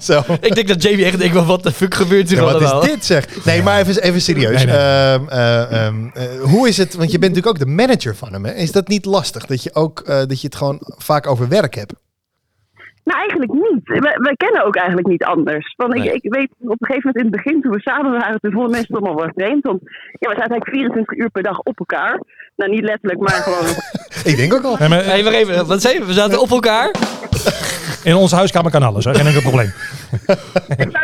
Speaker 1: Zo.
Speaker 4: Ik denk dat Jamie echt denkt, wel, wat de fuck gebeurt hier
Speaker 1: Ja, wat
Speaker 4: allemaal?
Speaker 1: is dit zeg? Nee, maar even, even serieus.
Speaker 3: Nee, nee.
Speaker 1: Ehm, eh, ehm, eh, hoe is het? Want je bent natuurlijk ook de manager van hem. Hè? Is dat niet lastig dat je ook eh, dat je het gewoon vaak over werk hebt?
Speaker 5: Nou, eigenlijk niet. Wij, wij kennen ook eigenlijk niet anders. Want
Speaker 4: Nee.
Speaker 5: ik, ik weet op een gegeven moment in het begin, toen we samen waren, toen vonden mensen het allemaal wel vreemd. Want ja, we zaten eigenlijk 24 uur per dag op elkaar. Nou, niet letterlijk, maar gewoon.
Speaker 1: Ik denk ook al.
Speaker 3: Nee, maar
Speaker 4: Hé, wacht even. Wat zei je? We zaten op elkaar.
Speaker 3: in onze huiskamer kan alles, hè? Geen enkel probleem.
Speaker 5: we zijn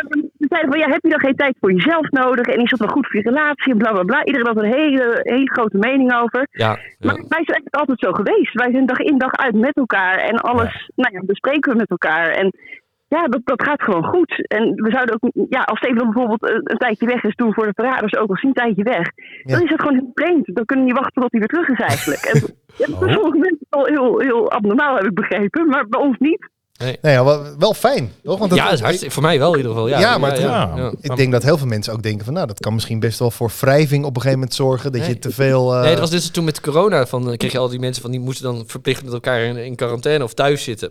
Speaker 5: zeiden van, ja, heb je dan geen tijd voor jezelf nodig? En is dat wel goed voor je relatie? En bla, bla, bla. Iedereen had een hele, hele grote mening over.
Speaker 4: Ja,
Speaker 5: Maar
Speaker 4: ja.
Speaker 5: wij zijn eigenlijk altijd zo geweest. Wij zijn dag in dag uit met elkaar en alles Nou ja, bespreken we met elkaar. En ja, dat, dat gaat gewoon goed. En we zouden ook, ja, als Steven bijvoorbeeld eh, een tijdje weg is toen voor de verraders, ook al is hij een tijdje weg,
Speaker 1: Ja.
Speaker 5: dan is het gewoon heel vreemd. Dan kunnen we niet wachten tot hij weer terug is eigenlijk. En, ja, dat is voor sommige mensen al heel, heel abnormaal, heb ik begrepen, maar bij ons niet.
Speaker 1: Nou ja, wel, wel fijn, toch? Want dat-
Speaker 4: Ja, dat is hartstikke, voor mij wel in ieder geval. Ja,
Speaker 1: Ja, maar het-
Speaker 3: ja.
Speaker 1: Ik denk dat heel veel mensen ook denken van, nou, dat kan misschien best wel voor wrijving op een gegeven moment zorgen. Dat
Speaker 4: Nee.
Speaker 1: je te veel... eh,
Speaker 4: Nee, dat was dus toen met corona. Van, eh, kreeg je al die mensen van die moesten dan verplicht met elkaar in, in quarantaine of thuis zitten.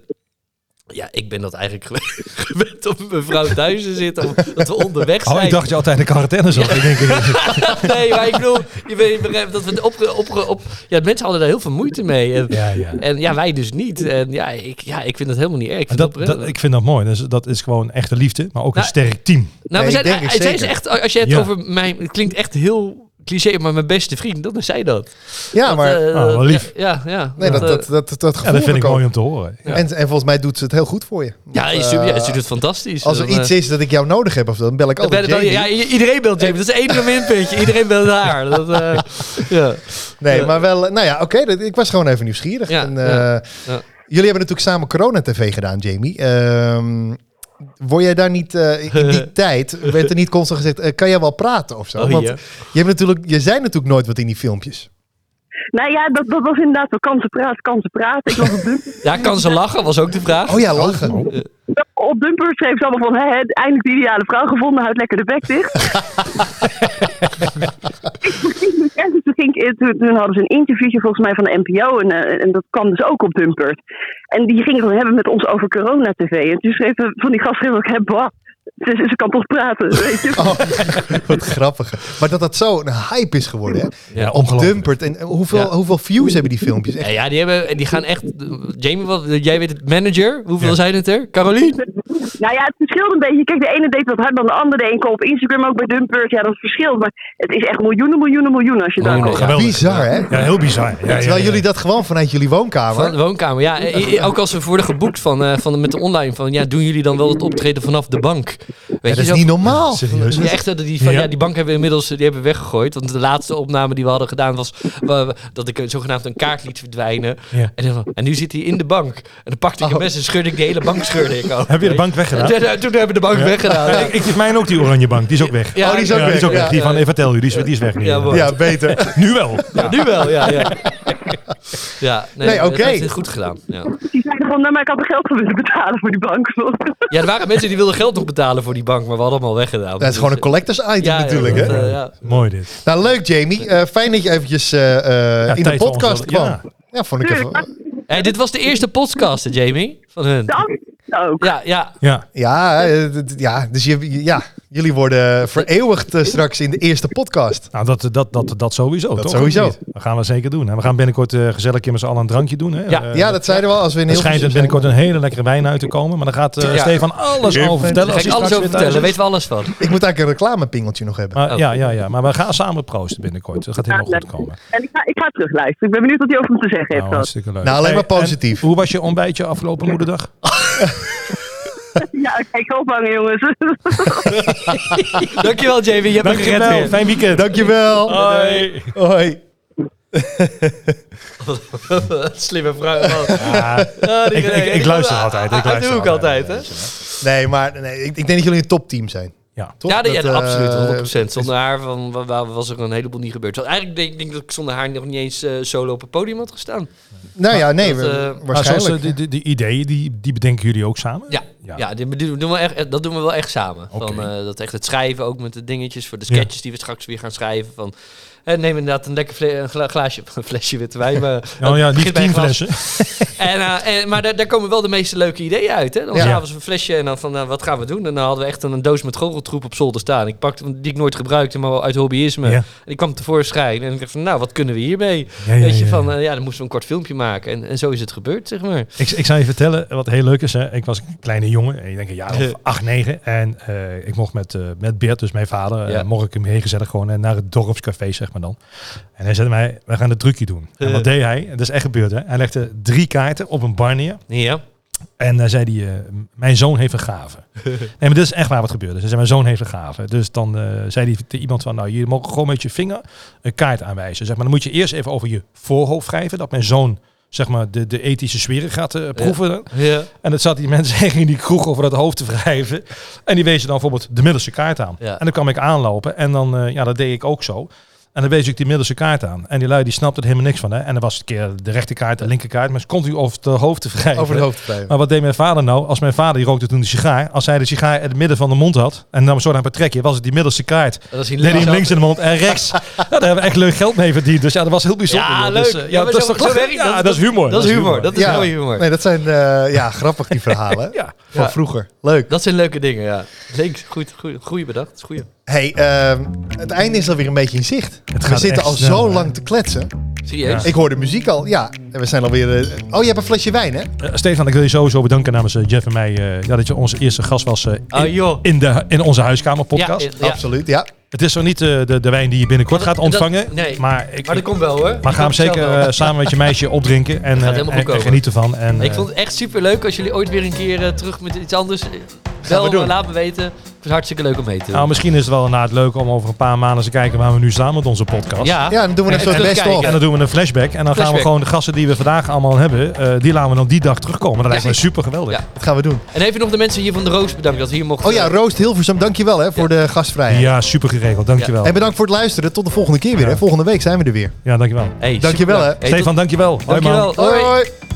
Speaker 4: Ja, ik ben dat eigenlijk gewe- gewend om mijn vrouw thuis te zitten. Of dat we onderweg zijn.
Speaker 3: Oh, ik dacht je altijd in de quarantaine zat. Ik denk,
Speaker 4: Nee, maar ik bedoel, je weet je begrijpt dat we opge, opge, op. Ja, mensen hadden daar heel veel moeite mee. En
Speaker 3: ja, ja.
Speaker 4: en ja wij dus niet. En ja, ik, ja, ik vind dat helemaal niet erg. Ik
Speaker 3: Maar
Speaker 4: vind
Speaker 3: Dat,
Speaker 4: dat
Speaker 3: dat, ik vind dat mooi. Dus dat is gewoon echte liefde, maar ook een
Speaker 4: Nou,
Speaker 3: sterk team.
Speaker 4: Nou, we
Speaker 1: Nee,
Speaker 4: zijn,
Speaker 1: ik denk het
Speaker 4: eh, zij is
Speaker 1: zeker.
Speaker 4: echt, als je het
Speaker 3: Ja.
Speaker 4: over mijn, het klinkt echt heel cliché, maar mijn beste vriend, dan is zij dat.
Speaker 1: ja, maar...
Speaker 4: Dat, eh,
Speaker 3: Ah, wel lief.
Speaker 4: Ja, ja. ja.
Speaker 1: nee, dat,
Speaker 4: eh,
Speaker 1: dat, dat, dat,
Speaker 3: Ja,
Speaker 1: gevoel
Speaker 3: dat vind ik
Speaker 1: ook.
Speaker 3: mooi om te horen. Ja.
Speaker 1: En, en volgens mij doet ze het heel goed voor je.
Speaker 4: ja,
Speaker 1: Want,
Speaker 4: je stuurt- ja,
Speaker 1: eh,
Speaker 4: je doet het fantastisch.
Speaker 1: als er
Speaker 4: Dan, eh,
Speaker 1: iets is dat ik jou nodig heb, of dan bel ik
Speaker 4: dan ben
Speaker 1: altijd
Speaker 4: je wel-
Speaker 1: Jamie.
Speaker 4: ja, i- iedereen belt Jamie. Dat is één enige minpuntje. Iedereen belt haar. Dat, eh, ja.
Speaker 1: Nee,
Speaker 4: Ja.
Speaker 1: maar wel... eh, Nou ja, oké, dat- ik was gewoon even nieuwsgierig.
Speaker 4: Ja,
Speaker 1: en,
Speaker 4: ja,
Speaker 1: eh,
Speaker 4: ja.
Speaker 1: Jullie hebben natuurlijk samen corona-tv gedaan, Jamie. Ehm, word jij daar niet... eh, in die tijd werd er niet constant gezegd... eh, kan jij wel praten of zo?
Speaker 4: Oh,
Speaker 1: Want
Speaker 4: ja.
Speaker 1: je, hebt natuurlijk, je zei natuurlijk nooit wat in die filmpjes.
Speaker 5: Nou ja, dat, dat was inderdaad wel kansen praten, kansen praten. Ik was op Dumper,
Speaker 4: ja, kan ze lachen? Was ook de vraag.
Speaker 1: Oh ja, lachen.
Speaker 5: op Dumper schreef ze allemaal van, hè, hè, eindelijk de ideale vrouw gevonden, houdt lekker de bek dicht. En toen, ging ik- toen, toen hadden ze een interviewtje volgens mij van de NPO. En, eh, en dat kwam dus ook op Dumpert. En die gingen het dan hebben met ons over corona-tv. En toen schreven van die gast schreef ik, hè, bah, ze, ze kan toch praten, weet je.
Speaker 1: Oh, wat grappig. Maar dat dat zo een hype is geworden, hè?
Speaker 4: Ja,
Speaker 3: Ongelooflijk.
Speaker 1: Dumpert. En eh, hoeveel,
Speaker 4: Ja.
Speaker 1: hoeveel views hebben die filmpjes?
Speaker 4: Ja,
Speaker 1: Echt,
Speaker 4: Eh, ja, die, hebben, die gaan echt... Jamie, wat, jij weet het, manager. Hoeveel zijn het er? Caroline?
Speaker 5: Nou ja, het verschilt een beetje. Kijk, de ene deed wat harder dan de andere. De een kwam op Instagram ook bij Dumpert. Ja, dat verschilt. Maar het is echt miljoenen, miljoenen, miljoenen als je daar
Speaker 4: Miljoenen.
Speaker 5: komt.
Speaker 3: Geweldig.
Speaker 1: bizar, hè?
Speaker 3: Ja, heel bizar. Ja, ja,
Speaker 1: Terwijl
Speaker 3: ja.
Speaker 1: jullie dat gewoon vanuit jullie woonkamer...
Speaker 4: Van de woonkamer, ja. eh, eh, Ook als we worden geboekt van, eh, van, met de online. Van, ja, doen jullie dan wel het optreden vanaf de bank? Weet je,
Speaker 1: Ja, dat
Speaker 4: zo-
Speaker 1: is niet normaal.
Speaker 3: Serieus?
Speaker 4: Ja, echt, eh, die, van,
Speaker 3: Ja.
Speaker 4: ja. die bank hebben we inmiddels eh, die hebben we weggegooid. Want de laatste opname die we hadden gedaan was eh, dat ik eh, zogenaamd een kaart liet verdwijnen.
Speaker 3: Ja.
Speaker 4: En, dan van, en nu zit hij in de bank. En dan pakte ik een mes en scheurde ik de hele bank scheurde ik ook.
Speaker 3: Heb je de bank
Speaker 4: En
Speaker 3: weggedaan?
Speaker 4: toen, eh, toen hebben we de bank weggedaan.
Speaker 3: Ja, ik, ik geef mijn ook die oranje bank. Die is ook weg.
Speaker 4: Ja,
Speaker 1: Oh, die is ook
Speaker 3: Ja,
Speaker 1: weg.
Speaker 3: die is ook
Speaker 1: ja.
Speaker 3: weg. Die van,
Speaker 4: ja.
Speaker 3: eh, vertel u, die is, die is weg. nu.
Speaker 4: Ja, mooi.
Speaker 1: Ja, beter.
Speaker 3: Nu wel.
Speaker 4: Ja, nu wel, ja. ja. Ja, nee,
Speaker 1: Nee,
Speaker 4: dat
Speaker 1: oké.
Speaker 4: heeft het goed gedaan. Ja.
Speaker 5: Die zeiden gewoon, nou maar ik had er geld voor willen betalen voor die bank.
Speaker 4: ja, er waren mensen die wilden geld nog betalen voor die bank, maar we hadden hem al weggedaan. Dus, eh,
Speaker 1: Dat is gewoon een collectors item
Speaker 4: Ja, ja,
Speaker 1: natuurlijk,
Speaker 4: dat,
Speaker 1: hè?
Speaker 4: eh, ja.
Speaker 3: Mooi dit.
Speaker 1: Nou, leuk Jamie. Eh, fijn dat je eventjes eh, eh, in de
Speaker 3: tijd voor ons
Speaker 1: podcast
Speaker 3: wel-
Speaker 1: kwam. Ja.
Speaker 3: ja.
Speaker 1: vond ik
Speaker 5: Tuurlijk.
Speaker 1: even...
Speaker 4: Hey, dit was de eerste podcast, hè, Jamie, van hun.
Speaker 5: De andere ook.
Speaker 4: Ja, ja.
Speaker 3: Ja.
Speaker 1: Ja, eh, d- d- ja, dus je, ja, jullie worden vereeuwigd eh, straks in de eerste podcast.
Speaker 3: Nou, dat, dat, dat, dat sowieso.
Speaker 1: Dat
Speaker 3: toch?
Speaker 1: sowieso.
Speaker 3: Of niet? Dat gaan we zeker doen. En we gaan binnenkort eh, gezellig een keer met z'n allen een drankje doen. Hè?
Speaker 4: Ja.
Speaker 3: Eh,
Speaker 1: Ja, dat zeiden we al. Als we in
Speaker 3: er
Speaker 1: heel
Speaker 3: schijnt er binnenkort een hele lekkere wijn uit te komen. Maar daar gaat eh,
Speaker 4: Ja.
Speaker 3: Stefan alles
Speaker 1: Even-
Speaker 3: over vertellen.
Speaker 4: Daar
Speaker 3: als
Speaker 4: ga
Speaker 3: hij
Speaker 4: ik alles
Speaker 3: straks
Speaker 4: over
Speaker 3: weer thuis
Speaker 4: vertellen, Oh.
Speaker 3: is.
Speaker 4: weten we alles van.
Speaker 1: Ik moet eigenlijk een reclamepingeltje nog hebben.
Speaker 3: Maar, ja, ja, ja. Maar we gaan samen proosten binnenkort. Dat gaat helemaal goed komen.
Speaker 5: En ik ga, ik ga terugluisteren. Ik ben benieuwd wat hij over me te zeggen heeft.
Speaker 3: Nou,
Speaker 5: gehad.
Speaker 3: hartstikke leuk.
Speaker 1: Nou, alleen maar
Speaker 3: Hey, en
Speaker 1: positief.
Speaker 3: Hoe was je ontbijtje afgelopen moederdag?
Speaker 5: Ja, ik kijk ophangen, jongens.
Speaker 4: Dankjewel, Jamie. Je hebt me gered
Speaker 3: Dankjewel.
Speaker 4: weer.
Speaker 3: Fijn weekend.
Speaker 1: Dankjewel.
Speaker 3: Oh. Hoi.
Speaker 1: Hoi.
Speaker 4: Slimme vrouw. man.
Speaker 3: Ja,
Speaker 4: Ah, die
Speaker 3: Ik-
Speaker 4: René.
Speaker 3: ik- ik luister
Speaker 4: Ah,
Speaker 3: altijd, ik
Speaker 4: ah, Dat
Speaker 3: luister
Speaker 4: doe ik altijd,
Speaker 3: altijd.
Speaker 4: hè?
Speaker 1: Nee, maar nee, ik, ik denk dat jullie een topteam zijn.
Speaker 3: ja.
Speaker 1: Toch?
Speaker 4: Ja, die- ja,
Speaker 1: Dat, eh,
Speaker 4: absoluut, 100%. Zonder haar van, wa- wa- was er een heleboel niet gebeurd. Want eigenlijk denk ik denk dat ik zonder haar nog niet eens eh, solo op het podium had gestaan.
Speaker 1: Nou ja, nee,
Speaker 4: Dat,
Speaker 1: we-
Speaker 4: eh,
Speaker 3: Maar Ah, zoals
Speaker 1: waarschijnlijk.
Speaker 3: eh, die, die, die ideeën, die, die bedenken jullie ook samen?
Speaker 4: Ja, ja.
Speaker 3: Ja.
Speaker 4: die- die doen we echt, eh, dat doen we wel echt samen. Van,
Speaker 3: Oké.
Speaker 4: eh, dat echt het schrijven, ook met de dingetjes voor de
Speaker 3: Ja.
Speaker 4: sketches die we straks weer gaan schrijven. Van, eh, neem inderdaad een lekker fle- een gla- glaasje, een flesje witte wijn. Maar,
Speaker 3: Nou ja,
Speaker 4: begint
Speaker 3: niet
Speaker 4: bij
Speaker 3: tien
Speaker 4: een glas.
Speaker 3: flessen.
Speaker 4: En, eh, en- maar daar, daar komen wel de meeste leuke ideeën uit. Hè? Dan
Speaker 1: Ja.
Speaker 4: s'avonds een flesje en dan van, nou, wat gaan we doen? En dan hadden we echt een, een doos met goocheltroep op zolder staan. Ik pakte, die ik nooit gebruikte, maar wel uit hobbyisme.
Speaker 3: Ja.
Speaker 4: En die kwam tevoorschijn. En ik dacht van, nou, wat kunnen we hiermee?
Speaker 3: Ja, ja,
Speaker 4: Weet je,
Speaker 3: ja,
Speaker 4: van,
Speaker 3: ja.
Speaker 4: eh, ja, dan moesten we een kort filmpje maken. En, en zo is het gebeurd, zeg maar.
Speaker 3: Ik, ik zou je vertellen wat heel leuk is. Hè. Ik was een kleine jongen, ik denk een jaar of acht, negen. En eh, ik mocht met, eh, met Beert, dus mijn vader, eh,
Speaker 4: Ja.
Speaker 3: mocht ik hem heen gezellig gewoon eh, naar het dorpscafé, zeg maar dan. En hij zei mij, we gaan het trucje doen. En wat deed hij? En Dat is echt gebeurd, hè. Hij legde drie kaarten op een bar neer.
Speaker 4: Ja.
Speaker 3: En daar zei hij, eh, mijn zoon heeft een gave. nee, maar dit is echt waar wat gebeurde. Ze zei, mijn zoon heeft een gave. Dus dan eh, zei hij tegen iemand van, nou, je mag gewoon met je vinger een kaart aanwijzen. Zeg maar, dan moet je eerst even over je voorhoofd wrijven. Dat mijn zoon, zeg maar, de, de ethische sferen gaat eh, proeven.
Speaker 4: Ja.
Speaker 3: En dat zat die mensen echt in die kroeg over het hoofd te wrijven. En die wezen dan bijvoorbeeld de middelste kaart aan.
Speaker 4: Ja.
Speaker 3: En dan kwam ik aanlopen en dan, eh, ja, dat deed ik ook zo. En dan wees ik die middelste kaart aan. En die lui die snapte er helemaal niks van. Hè? En dan was het een keer de rechterkaart, de linkerkaart. Maar ze continu over het hoofd te wrijven.
Speaker 1: Over het hoofd blijven.
Speaker 3: Maar wat deed mijn vader nou? Als mijn vader die rookte toen de sigaar. Als hij de sigaar in het midden van de mond had. En nam zo naar een trekje. Was het die middelste kaart.
Speaker 4: Dat is
Speaker 3: Deed hij hem links in de mond en rechts. ja, daar hebben we echt leuk geld mee verdiend. Dus ja, dat was heel bijzonder.
Speaker 4: Ja,
Speaker 3: joh.
Speaker 4: leuk.
Speaker 3: Dus, eh,
Speaker 4: Ja,
Speaker 3: ja,
Speaker 4: maar
Speaker 3: dat is
Speaker 4: zo-
Speaker 3: toch
Speaker 4: zo
Speaker 3: lachen?
Speaker 4: werkt
Speaker 3: Ja,
Speaker 4: dat.
Speaker 3: dat is humor.
Speaker 4: Dat is humor. Dat is mooi humor.
Speaker 1: Nee, dat zijn eh, ja, grappig die verhalen hè?
Speaker 3: Ja.
Speaker 1: van vroeger. Leuk.
Speaker 4: Dat zijn leuke dingen, ja. Links, goed, goed, goeie bedacht. Goeie.
Speaker 1: Hey, ehm, het einde is alweer een beetje in zicht. we
Speaker 3: gaat
Speaker 1: zitten
Speaker 3: echt
Speaker 1: al
Speaker 3: snel,
Speaker 1: zo
Speaker 3: hè?
Speaker 1: lang te kletsen.
Speaker 4: Serieus?
Speaker 1: Ik hoor de muziek al. Ja, en we zijn alweer... eh, oh, je hebt een flesje wijn, hè?
Speaker 3: Eh, Stefan, ik wil je sowieso bedanken namens eh, Jeff en mij eh, ja, dat je onze eerste gast was eh, in,
Speaker 4: Ah, joh.
Speaker 3: in, de, in onze huiskamerpodcast.
Speaker 4: Ja, ja.
Speaker 1: Absoluut, ja.
Speaker 3: Het is zo niet eh, de, de wijn die je binnenkort
Speaker 4: Dat-
Speaker 3: gaat
Speaker 4: dat-
Speaker 3: ontvangen,
Speaker 4: nee.
Speaker 3: maar, ik,
Speaker 4: Maar dat komt wel hoor.
Speaker 3: maar ga hem
Speaker 4: Dat komt
Speaker 3: zeker
Speaker 4: zelf wel.
Speaker 3: eh, samen met je meisje opdrinken en,
Speaker 4: gaat
Speaker 3: eh,
Speaker 4: helemaal
Speaker 3: en,
Speaker 4: goed
Speaker 3: en
Speaker 4: komen.
Speaker 3: geniet ervan. En,
Speaker 4: Ik
Speaker 3: eh,
Speaker 4: vond het echt super leuk als jullie ooit weer een keer eh, terug met iets anders. eh,
Speaker 1: we
Speaker 4: Wel
Speaker 1: doen.
Speaker 4: eh, laat me weten. Het was hartstikke leuk om mee te doen.
Speaker 3: nou, misschien is het wel inderdaad leuk om over een paar maanden eens te kijken waar we nu staan met onze podcast.
Speaker 4: ja.
Speaker 1: Ja, dan doen we
Speaker 4: En
Speaker 1: een soort
Speaker 4: terugkijken.
Speaker 1: best-of.
Speaker 3: En dan doen we een flashback. En dan gaan we
Speaker 4: Flashback.
Speaker 3: gewoon de gasten die we vandaag allemaal hebben, eh, die laten we dan die dag terugkomen. Dat lijkt me
Speaker 4: precies.
Speaker 3: super geweldig.
Speaker 4: Ja.
Speaker 1: Dat gaan we doen.
Speaker 4: En even nog de mensen hier van de Roos bedankt dat we hier mochten. eh,
Speaker 1: Oh ja, Roost Hilversum, dankjewel hè, voor de gastvrijheid.
Speaker 3: Ja, super geregeld. Dankjewel.
Speaker 1: En bedankt voor het luisteren. Tot de volgende keer weer.
Speaker 3: Ja.
Speaker 1: Hè. Volgende week zijn we er weer.
Speaker 3: Ja, dankjewel.
Speaker 4: Hey,
Speaker 1: Dankjewel,
Speaker 4: superleuk.
Speaker 1: hè.
Speaker 4: Hey,
Speaker 3: Stefan, dankjewel.
Speaker 4: tot-
Speaker 3: Hoi man.
Speaker 4: Dankjewel. Hoi.
Speaker 1: hoi.